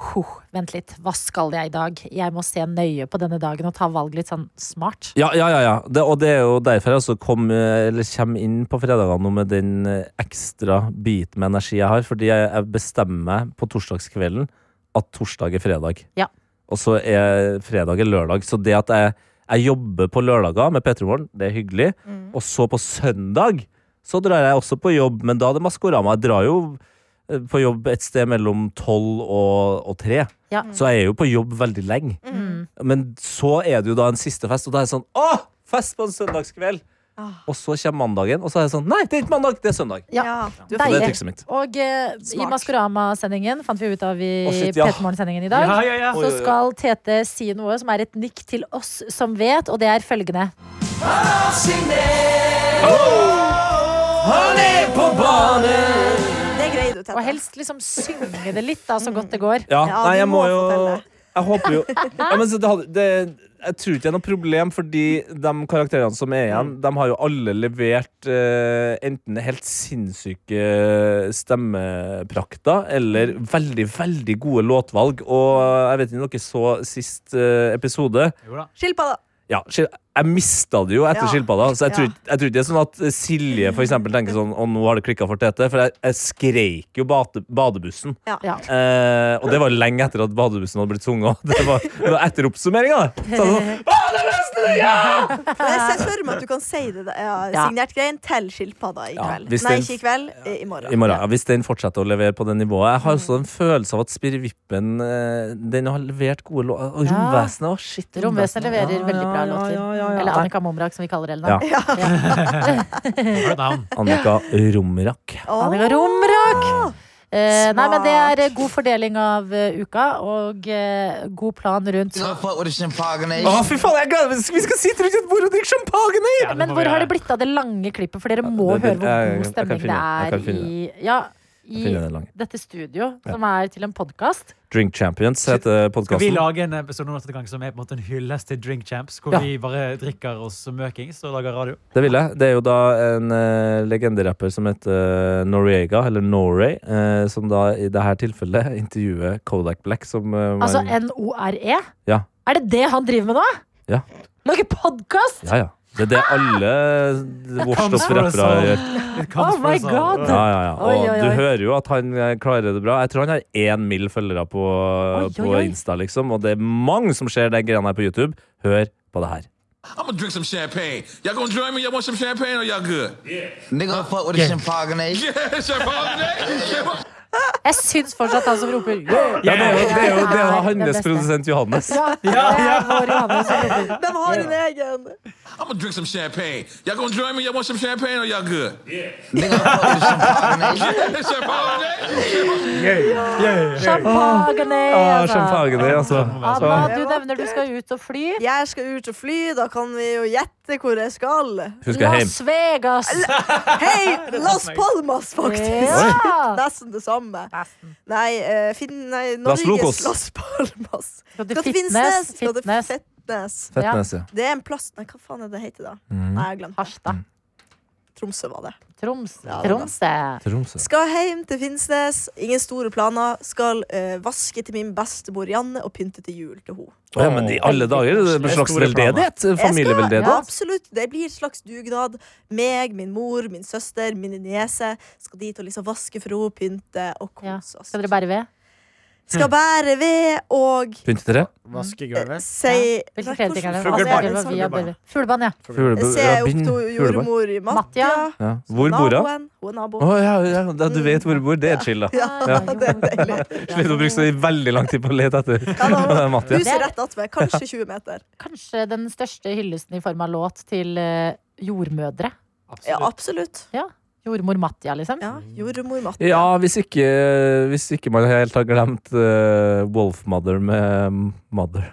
Huh, vent litt, hva skal jeg i dag? Jeg må se nøye på denne dagen og ta valg litt sånn smart. Ja, ja, ja. ja. Det, og det er jo derfor jeg også kom, eh, eller kommer inn på fredagene nå med den eh, ekstra biten med energi jeg har. Fordi jeg, jeg bestemmer meg på torsdagskvelden at torsdag er fredag. Ja. Og så er fredag er lørdag. Så det at jeg, jeg jobber på lørdager med P3 Morgen, det er hyggelig. Mm. Og så på søndag så drar jeg også på jobb, men da er det Maskorama. Jeg drar jo eh, på jobb et sted mellom tolv og, og tre. Ja. Så jeg er jo på jobb veldig lenge. Mm. Men så er det jo da en siste fest, og da er det sånn Åh, fest på en søndagskveld! Ah. Og så kommer mandagen, og så er det sånn Nei, det er ikke mandag, det er søndag. Ja. Du Så er det Deilig. er trikset mitt. Og eh, i Smart. Maskorama-sendingen fant vi ut av i Å, shit, ja. P3morgen-sendingen i dag. Ja, ja, ja. Oi, Så oi, oi. skal Tete si noe som er et nikk til oss som vet, og det er følgende. Han er på banen! Det greier du, Og Tete. helst liksom synge det litt, da, så godt det går. Ja, Ja, nei, du jeg må må jo fortelle. Jeg håper jo ja, men så det, hadde- det, Jeg tror ikke det er noe problem, fordi de karakterene som er igjen, de har jo alle levert eh, enten helt sinnssyke stemmeprakter eller veldig, veldig gode låtvalg. Og eh, jeg vet ikke om dere så sist eh, episode. Jo da. Skilpadda. Ja, skil- jeg mista det jo etter Ja. skilpadda. Så jeg tror, Ja. ikke- jeg tror ikke det er sånn at Silje for eksempel, tenker sånn Å, nå har det klikka for Tete. For jeg, jeg skreik jo bate, badebussen. Ja. Ja. Eh, og det var lenge etter at badebussen hadde blitt sunget. Det var, det var etter oppsummeringa. Så jeg sånn, badebussen, ja! Men jeg ser for meg at du kan si det ja, Ja. signert greien til skilpadda i Ja, kveld. hvis Nei, den- ikke i kveld. eh, I morgen. I morgen, ja, Hvis den fortsetter å levere på det nivået. Jeg har også en følelse av at Spirrevippen eh, Den har levert gode låter. Og Ja. Romvesenet. Å, shit. Romvesenet leverer veldig bra låter. Ja, ja, ja, Eller ja. Nei, Annika Momrak, som vi kaller henne. Ja. da. Har du et navn? Annika Romrak. Åh, Annika Romrak! Eh, nei, men det Smart. er eh, god fordeling av eh, uka, og eh, god plan rundt You gonna fuck with a champagne? Oh, Å, fy faen, jeg gleder meg! Vi skal sitte rundt et bord og drikke champagne! Ja, det Men må hvor vi har gjøre. det blitt av det lange klippet? For dere må det- høre det- hvor jeg- god jeg kan stemning det finne- jeg kan er finne i, ja, i finne det lange. dette studio, som er til en podkast. Drink Champions heter Skal vi podkasten. lage en episode nå neste gang som er på en måte en hyllest til Drink Champs, hvor Ja. vi bare drikker oss møkings og lager radio? Det vil jeg. Det er jo da en eh, legenderapper som heter eh, Noriega, eller Norway, eh, som da i dette tilfellet intervjuer Kodak Black, som eh, var Altså en- N-O-R-E. Ja. Er det det han driver med nå? Ja. Lager podkast? Ja, ja. Det er det alle washed comes up for us rappere all. gjør. It comes Oh my for altså. us all. god! Ja, ja, ja. Og Oi, oi, oi. du hører jo at han eh, klarer det bra. Jeg tror han har én mill. følgere på, oi, på oi. Insta, liksom. Og det er mange som ser de greiene her på YouTube. Hør på det her. I'm gonna drink some champagne. Y'all gonna join me? Y'all want some champagne or y'all good? Nigga, fuck with a champagne. Yeah, champagne. champagne. Jeg syns fortsatt han som roper yeah, Ja, det er jo, det er jo, det er jo er den hans beste. produsent Johannes. Ja, det er vår Johannes som roper. De har en egen. I'm gonna drink some champagne. Y'all gonna join me? Y'all want some champagne or y'all good? Nigga, fuck with a champagne. Yeah, champagne. Champagne! Ah, altså. Champagne, altså. Anna, du nevner du skal ut og fly. Jeg skal ut og fly, da kan vi jo gjette hvor jeg skal. Hun skal hjem. Las Vegas! Hei, Las sånn Palmas, faktisk! Ja. Nesten det samme. Nei, eh, Finn... Nei, Las Norges Locos. Las Palmas. Skal til Skal til Fitnes? Finnsnes. Skal til Fitnes. Fitnes. Fettnes, ja. Det er en plass Nei, hva faen er det heter da? Mhm. Nei, jeg har glemt. Harstad. Tromsø var det. Troms. Ja, det er Tromsø. Tromsø. Skal hjem til Finnsnes. Ingen store planer. Skal eh, vaske til min bestemor Janne og pynte til jul til henne. Å, ja, men i alle dager, det er en slags Store planer. veldedighet? Ja, eh, Familieveldedighet? absolutt. Det blir et slags dugnad. Meg, min mor, min søster, mine niese skal dit og liksom vaske for henne, pynte og Ja. kose oss. Skal dere bære ved? Skal bære ved og Pyntetre? eh, Vaskegulvet. si Hvilke Nei, flere ting er det? hvordan- Fuglebarn. Altså, vi har Fuglebarn. bare- Fuglebarn, Eh, ja. Fuglebø- Se ja, opp bind, til fuglebø- jordmor Matja. Matja. Ja. Hvor bor hun? Naboen. Hun er nabo. Å ja, ja, da du vet hvor hun bor. Det er chill, da. Ja, det er deilig. Slipper å bruke så veldig lang tid på å lete etter da må- Mattia. Huset rett attmed. Kanskje 20 meter. Kanskje den største hyllesten i form av låt til eh, jordmødre. Ja, absolutt. Jordmor Matja, liksom. Ja, jordmor Matja. Ja, hvis ikke, hvis ikke man helt har glemt eh, Wolfmother med Mother.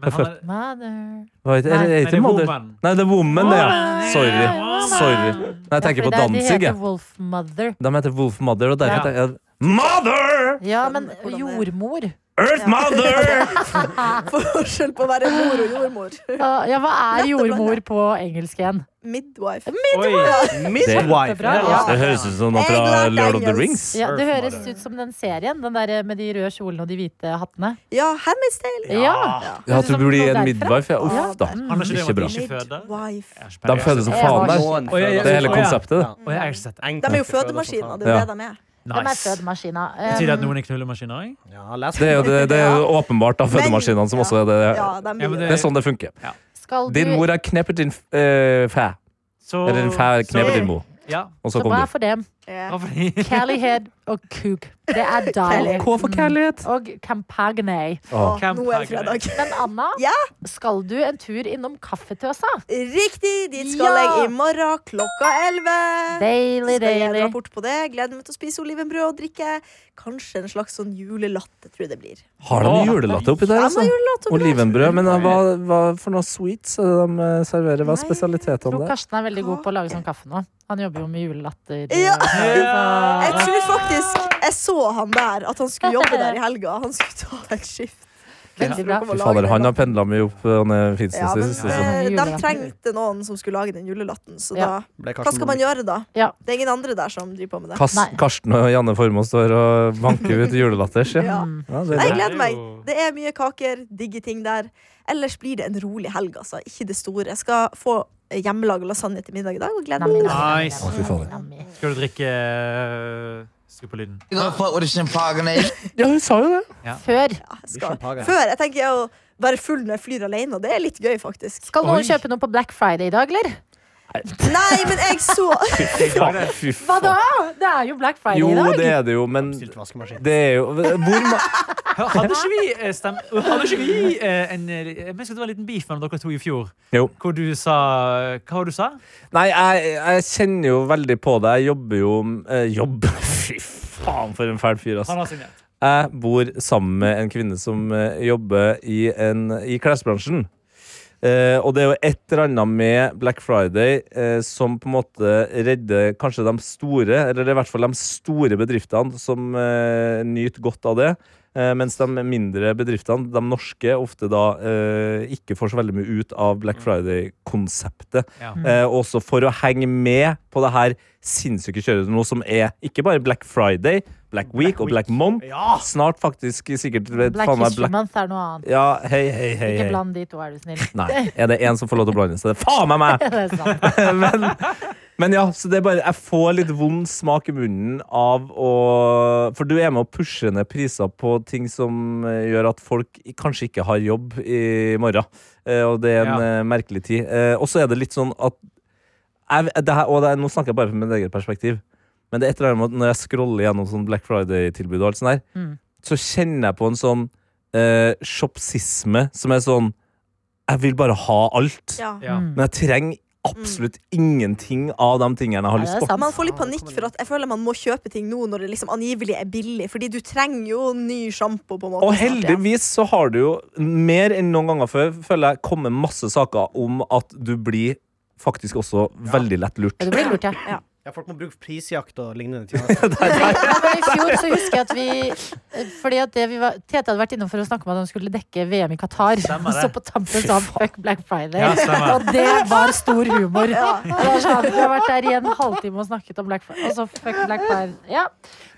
Men han er- Mother. Hva heter Nei, er men det? Er det ikke det er Mother? Woman. Nei, det er Woman, det, ja. Woman. Sorry. Woman. Sorry. Nei, jeg tenker på De Danzig, jeg. heter Wolf Mother. De heter Wolfmother, og Ja. derfor tenker jeg Mother! Ja, Skjønner men hvordan det er. jordmor Earth Mother! Forskjell på å være mor og jordmor. Ah, Ja, hva er Lett å blande. jordmor på engelsk igjen? Midwife. Oi. Det er bra, ja. Det høres ut som noe Jeg fra lærte Lord of the engelsk. Rings. Ja, det Earth høres Mother. ut som den serien, den der eh, med de røde kjolene og de hvite Mm. hattene. Ja, Handmaid's Tale. Ja. Ah, Ja. Ja, at du Høres ut som blir noe en derfra. midwife. Ja, Ja, uff da. Mm. Han er ikke det om Ikke bra. at de ikke føder? Midwife. De føder som faen der. Noen Å, ja, ja, Det er føder hele som- konseptet, det. Å, jeg har ikke sett det. De er jo fødemaskiner. Det er Ja. det de er. Hvem er Nice. fødemaskina? Betyr det at Um, noen er knullemaskiner? ikke? Ja, les Det er jo, det, det er jo åpenbart av Men- fødemaskinene som også er det. Ja, de Ja, men blir Det er sånn det funker. Skal du Din mor har knepet din eh, fæ. Så, Eller din fæ knepet din mor. Ja. Og så Så kom hva er du. for dem? Ja. Hva for en- Callyhead og Cook. Det er deilig. K for kjærlighet. Og Campagne. Åh. Å, Nå er det fredag. Men Anna, Ja? skal du en tur innom Kaffetøsa? Riktig! Dit skal Ja. jeg i morgen klokka 11. Deilig, Skal jeg deilig. dra bort på det. Gleder meg til å spise olivenbrød og drikke kanskje en slags sånn julelatte, tror jeg det blir. Har de julelatte oppi der, Ja, altså? men julelatte og brød. Olivenbrød. Men eh, hva, hva for noe sweets er det de eh, serverer? Hva Nei, er Jeg spesialitetene tror Sånn der? Karsten er veldig god på å lage sånn kaffe nå. Han jobber jo med julelatter. sånn. Ja. Ja. Jeg tror faktisk jeg så han der, at han skulle jobbe der i helga. Han skulle ta et skift. Veldig bra. Fy fader, han har pendla mye opp eh, ned ja, Finnsnes i men det siste. så- eh, De trengte noen som skulle lage den julelatten, så Ja. da Ble Hva skal man gjøre da? Ja. Det er ingen andre der som driver på med det. Kas Nei. Karsten og Janne Formoe står og vanker ut julelatters. Mm. Ja. Ja. Ja, det Nei, er bra. jeg gleder meg. jo- Det er mye kaker, digge ting der. Ellers blir det en rolig helg, altså. Ikke det store. Jeg skal få hjemmelaga lasagne til middag i dag og gleder meg til det. Nice. Å, fy fader. Skal du drikke øh, Skru på lyden. Nigga, fuck with a champagne. Ja, hun sa jo det. Før Ja, jeg Blir skal. champagne. Før jeg tenker å være full når jeg flyr alene, og det er litt gøy, faktisk. Skal Oi. noen kjøpe noe på Black Friday i dag, eller? Nei, men jeg så Faen, fy Hva da? faen. Det er jo Black Friday Jo, i dag. det er det jo, men Stilt vaskemaskin. det er jo Hvor ma Hadde ikke vi eh, stem... Hadde ikke vi eh, en eh, Jeg husker det var en liten beef mellom dere to i fjor. Jo. Hvor du sa Hva var det du sa? Nei, jeg, jeg kjenner jo veldig på det. Jeg jobber jo eh, Jobb? Fy faen, for en fæl fyr, altså. ass. Han har signert. Jeg bor sammen med en kvinne som eh, jobber i, en, i klesbransjen. Eh, og det er jo et eller annet med Black Friday eh, som på en måte redder kanskje de store, eller i hvert fall de store bedriftene som eh, nyter godt av det. Eh, mens de mindre bedriftene, de norske, ofte da eh, ikke får så veldig mye ut av Black Friday-konseptet. Ja. Eh, også for å henge med på det her sinnssyke kjøret nå, som er ikke bare Black Friday, Black Week og Black Month. Ja! Snart faktisk sikkert vet Black faen meg History Black Month er noe annet. Ja, hei, hei, hei. Ikke hei. bland de to, er du snill. Nei, er det én som får lov til å blande inn, så det er faen meg meg! Det er sant. men, men ja, så det er bare Jeg får litt vond smak i munnen av å For du er med å pushe ned priser på ting som eh, gjør at folk i- kanskje ikke har jobb i morgen. Eh, Og det er en Ja. eh, merkelig tid. Eh, Og så er det litt sånn at jeg, det her, Og det er, nå snakker jeg bare fra mitt eget perspektiv. Men det er et eller annet med at når jeg scroller gjennom sånn Black Friday-tilbud, og alt sånt der, Mm. så kjenner jeg på en sånn eh, shopsisme som er sånn Jeg vil bare ha alt. Ja. Ja. Mm. Men jeg trenger absolutt ingenting av de tingene jeg har Ja, lyst det er på. sant. Man får litt panikk for at jeg føler man må kjøpe ting nå når det liksom angivelig er billig. Fordi du trenger jo ny sjampo. på en måte. Og snart, ja. heldigvis så har du jo mer enn noen ganger før føler jeg kommet masse saker om at du blir faktisk også veldig lett lurt. Ja, du blir lurt, ja. Ja, folk må bruke prisjakt og lignende tjenester. Ja, men I fjor så husker jeg at vi eh, Fordi at det vi var, Tete hadde vært innom for å snakke om at han skulle dekke VM i Qatar. Stemmer Og det. så på tampen sa han 'fuck Black Friday'. Ja, stemmer. og det var stor humor. Det var sånn, vi har vært der i en halvtime og snakket om Black Friday, og så fuck Black Friday. Ja.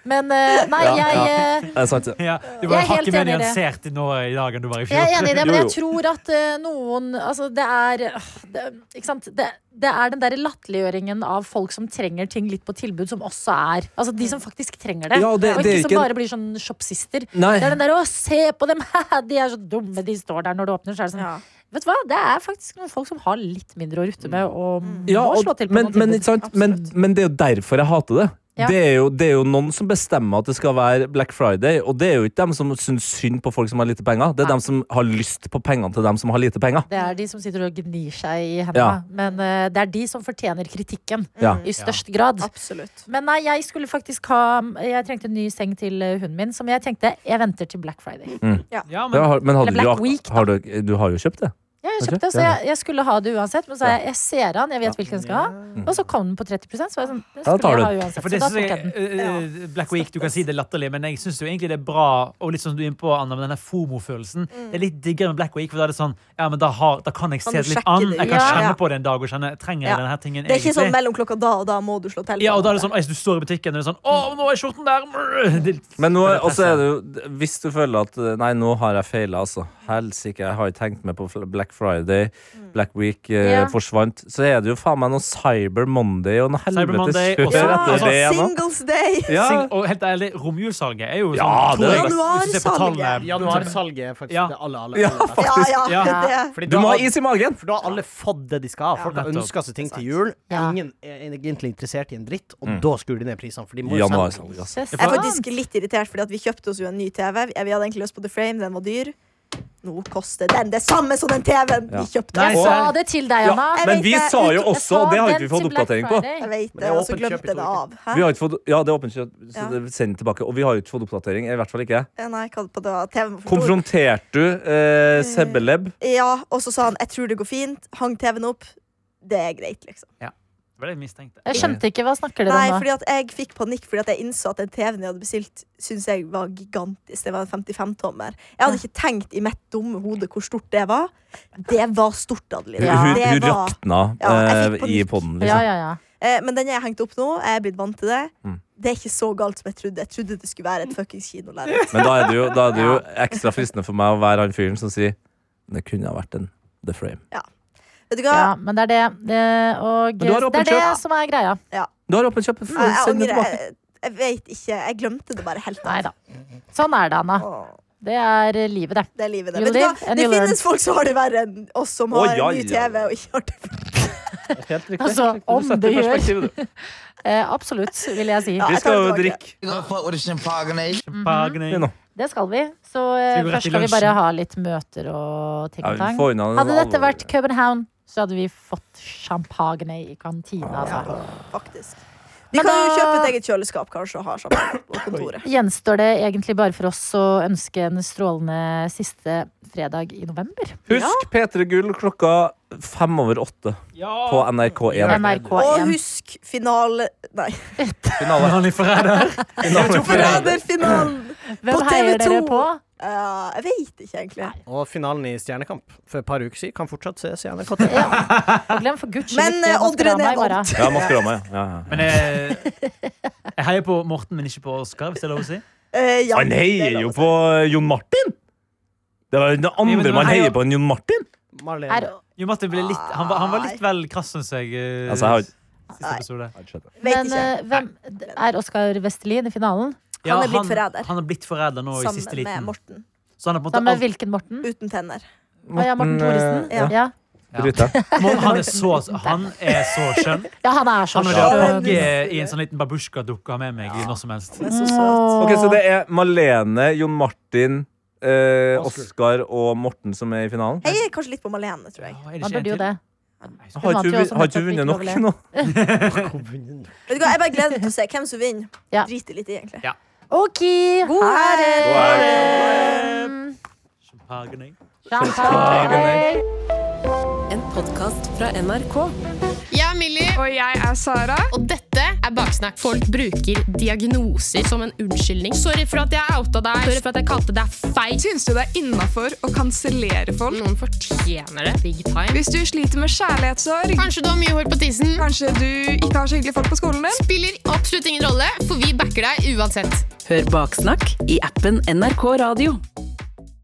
Men eh, nei, Ja, jeg, ja. eh, Det er sant, det. Ja, du Jeg var er helt hakket mer enig i det. nyansert nå i dag enn du var i fjor. Jeg er enig i det, men Jo, jeg tror at eh, noen Altså, det er øh, det, Ikke sant? Det, det er den derre latterliggjøringen av folk som trenger ting litt på tilbud, som også er Altså de som faktisk trenger det. Ja, og det- og det ikke er som ikke en- bare blir sånn shopsister. Nei. Det er den der 'Å, se på dem! de er så dumme, de står der når du åpner', så er det sånn. Ja. Vet du hva, det er faktisk noen folk som har litt mindre å rutte med, og Ja, må og, slå til på men, noen men, tilbud. ikke sant? Men, Absolutt. men det er jo derfor jeg hater det. Ja. Det, er jo, det er jo noen som bestemmer at det skal være Black Friday, og det er jo ikke dem som syns synd på folk som har lite penger. Det er Nei. dem som har lyst på pengene til dem som har lite penger. Det er de som sitter og gnir seg i hendene. Ja. Men eh, det er de som fortjener kritikken Ja. i størst grad. Absolutt. Men nei, jeg skulle faktisk ha Jeg trengte en ny seng til eh, hunden min, som jeg tenkte jeg venter til Black Friday. Ja, men, Ja, har, men hadde Eller Black du, Week, da. har du, du har jo kjøpt det. Ja, jeg Ok, kjøpte, så ja, ja. jeg, jeg skulle ha det uansett, men så sa jeg jeg ser han, jeg vet hvilken jeg skal ha. Og så kom den på 30 så var jeg sånn, det Ja, Mm. da tar skulle jeg du ha den. uansett. for Så det da synes tok jeg, jeg den. eh, eh, Black Week, du kan si det er latterlig, men jeg syns egentlig det er bra. Og litt sånn som du er inne på, Anna, med denne fomo-følelsen. Det er litt diggere med Black Week, for da er det sånn Ja, men da, har, da kan jeg se Mm. Kan du det litt sjekke an. det Jeg ut? kan Ja. kjenne Ja. på det en dag og kjenne Trenger jeg Ja. denne tingen Det er ikke egentlig? sånn mellom klokka da og da må du slå til. ja, og da er det på en sånn, «Oi, Du står i butikken og det er sånn Å, nå er skjorten der! Brr. Det- Men nå, det er også presset. er det jo Hvis du føler at eh, Nei, nå har jeg feila, altså. Helsike, jeg har ikke tenkt meg på fl- Black Friday. Mm. Black Week eh, Ja. forsvant. Så er det jo faen meg noe Cyber Monday og noe Cyber helvetes Monday, kjør og så- etter og så måte. det igjen nå. Singles Day! Ja. Sing- Og helt ærlig, romjulssalget er jo sånn Ja, det tror er jeg, hvis du ser på Januarsalget. tallene. Januarsalget er faktisk Ja. det alle, alle, alle Ja, ja, Ja. det. Fordi Du da må ha har- is i magen! For da har alle fått det de skal ha. Folk har Nettopp. ønska seg ting til jul. Ja. Ingen er egentlig interessert i en dritt, og da skrur de ned prisene. For de må jo selge. Januarsalg, Mm. altså. Så Jeg er sant. faktisk litt irritert, fordi at vi kjøpte oss jo en ny TV. Vi vi hadde egentlig lyst på The Frame, den var dyr. Nå koster den det samme som den TV-en vi kjøpte. Nei, Jeg sa det til deg, Ja, Anna. Jeg men vet vi det. sa jo Jeg også, og det har ikke vi fått oppdatering på Jeg vet Men det, det er og så åpent kjøp i glemte jeg det to av. Hæ? Vi har ikke fått, ja, det er åpent kjøtt, så Ja. det send tilbake. Og vi har jo ikke fått oppdatering. I hvert fall ikke jeg. Ja, Nei, hva på det var TV-en var for stor. Konfronterte du eh, Sebbeleb? Ja, og så sa han 'jeg tror det går fint'. Hang TV-en opp. Det er greit, liksom. Det var det jeg mistenkte. Jeg skjønte ikke. Hva snakker dere Nei, om nå? fordi at jeg fikk panikk fordi at jeg innså at den TV-en jeg hadde bestilt, Synes jeg var gigantisk. Det var en 55-tommer. Jeg hadde ikke tenkt i mitt dumme hode hvor stort det var. Det var stort, Adeline. Ja. Hun, Det hun var- rakna Ja, jeg eh, fikk i panikk. poden, Ja, liksom. ja, ja. Eh, Men den jeg har hengt opp nå, jeg er blitt vant til det. Mm. Det er ikke så galt som jeg trodde. Jeg trodde det skulle være et fuckings kinolerret. Men da er det jo, da er det jo ekstra fristende for meg å være han fyren som sier Det kunne ha vært en The Frame. Vet du hva? ja. Men det er det. det og Men du har det åpent er det kjøp. som er greia. Du har åpent kjøp. Nei, jeg Send det angrer. tilbake. Jeg, jeg vet ikke. Jeg glemte det bare helt. Nei da. Sånn er det, Anna. Åh, Det er eh, livet, det. Det er livet, You det. Vet du hva? live and Det you learn. finnes folk som har det verre enn oss som Å, har ja, en ny ja, ja. TV og ikke har det. Altså, om setter det gjør. perspektiv, du. Eh, absolutt, vil jeg si. Ja, Vi jeg tar skal det jo tilbake. drikke. Nigga fuck with a champagne. Mm-hmm. Bagning. Nå. Det skal vi. Så eh, Skal vi gå rett først i skal vi lunsjen? bare ha litt møter og ting Ja, og vi tang. får unna den Hadde dette alvorlige. vært København, så hadde vi fått champagne i kantina. Altså. Faktisk. De Men kan jo da- kjøpe et eget kjøleskap kanskje og ha sammen på kontoret. Gjenstår det egentlig bare for oss å ønske en strålende siste fredag i november? Husk P3 Gull klokka fem over åtte Ja. på NRK1. Og NRK1. husk finale... Nei. Finale. Vanlig forræder. Forræderfinalen! Hvem på heier TV2. dere på? Uh, jeg vet ikke, egentlig. Og finalen i Stjernekamp for et par uker siden kan fortsatt ses i NRK. Ja. Og glem for guds skyld Men, ikke eh, Oddrun Maskorama i er morgen. Ja, Maskorama, ja. ja, ja. Men eh, jeg, jeg Jeg heier på Morten, men ikke på Oskar, hvis det er lov å si. Eh, ja, Han det er heier lov jo å si. på Jon Martin! Det var jo den men andre han man heier- heier på enn Jon Martin. Marlene. Er, Jo, Martin ble litt, han, var, han var litt vel krass, syns jeg. eh, Altså, jeg har- Siste episode. Vet men ikke. eh, hvem, er Oskar Vestelin i finalen? Ja, er blitt forræder. Han er blitt forræder nå i siste Sammen med liten. Morten. Så han er på en Sammen måte med hvilken Morten? Uten tenner. Å ja, Morten Thoresen. eh, ja. Ja. Ja. Bryter. alt, Morten, han, er så, han er så skjønn. han er så Han vil ha skjønn. Åge i en sånn liten babusjka-dukke med meg i når som helst. Den er så søt. Ok, Så det er Malene, Jon Martin, eh, Oskar og Morten som er i finalen? Jeg er kanskje litt på Malene, tror jeg. Å, er det ikke Han en burde jo til? det. Har vant ikke jo hun også har ikke nettopp hun vunnet Ikke nok nå? Vet du hva, Jeg bare gleder meg til å se hvem som vinner. Ja. Driter litt i, egentlig. OK, God her helg! er Champagne. champagne. En podkast fra NRK. Jeg er Millie. Og jeg er Sara. Og dette er Baksnakk. Folk bruker diagnoser som en unnskyldning. Sorry for at jeg outa deg. Sorry for at jeg kalte deg feil. Syns du det er innafor å kansellere folk? Noen fortjener det. Big time. Hvis du sliter med kjærlighetssorg Kanskje du har mye hår på tissen. Kanskje du ikke har så hyggelige folk på skolen din. Spiller absolutt ingen rolle, for vi backer deg uansett. Hør Baksnakk i appen NRK Radio.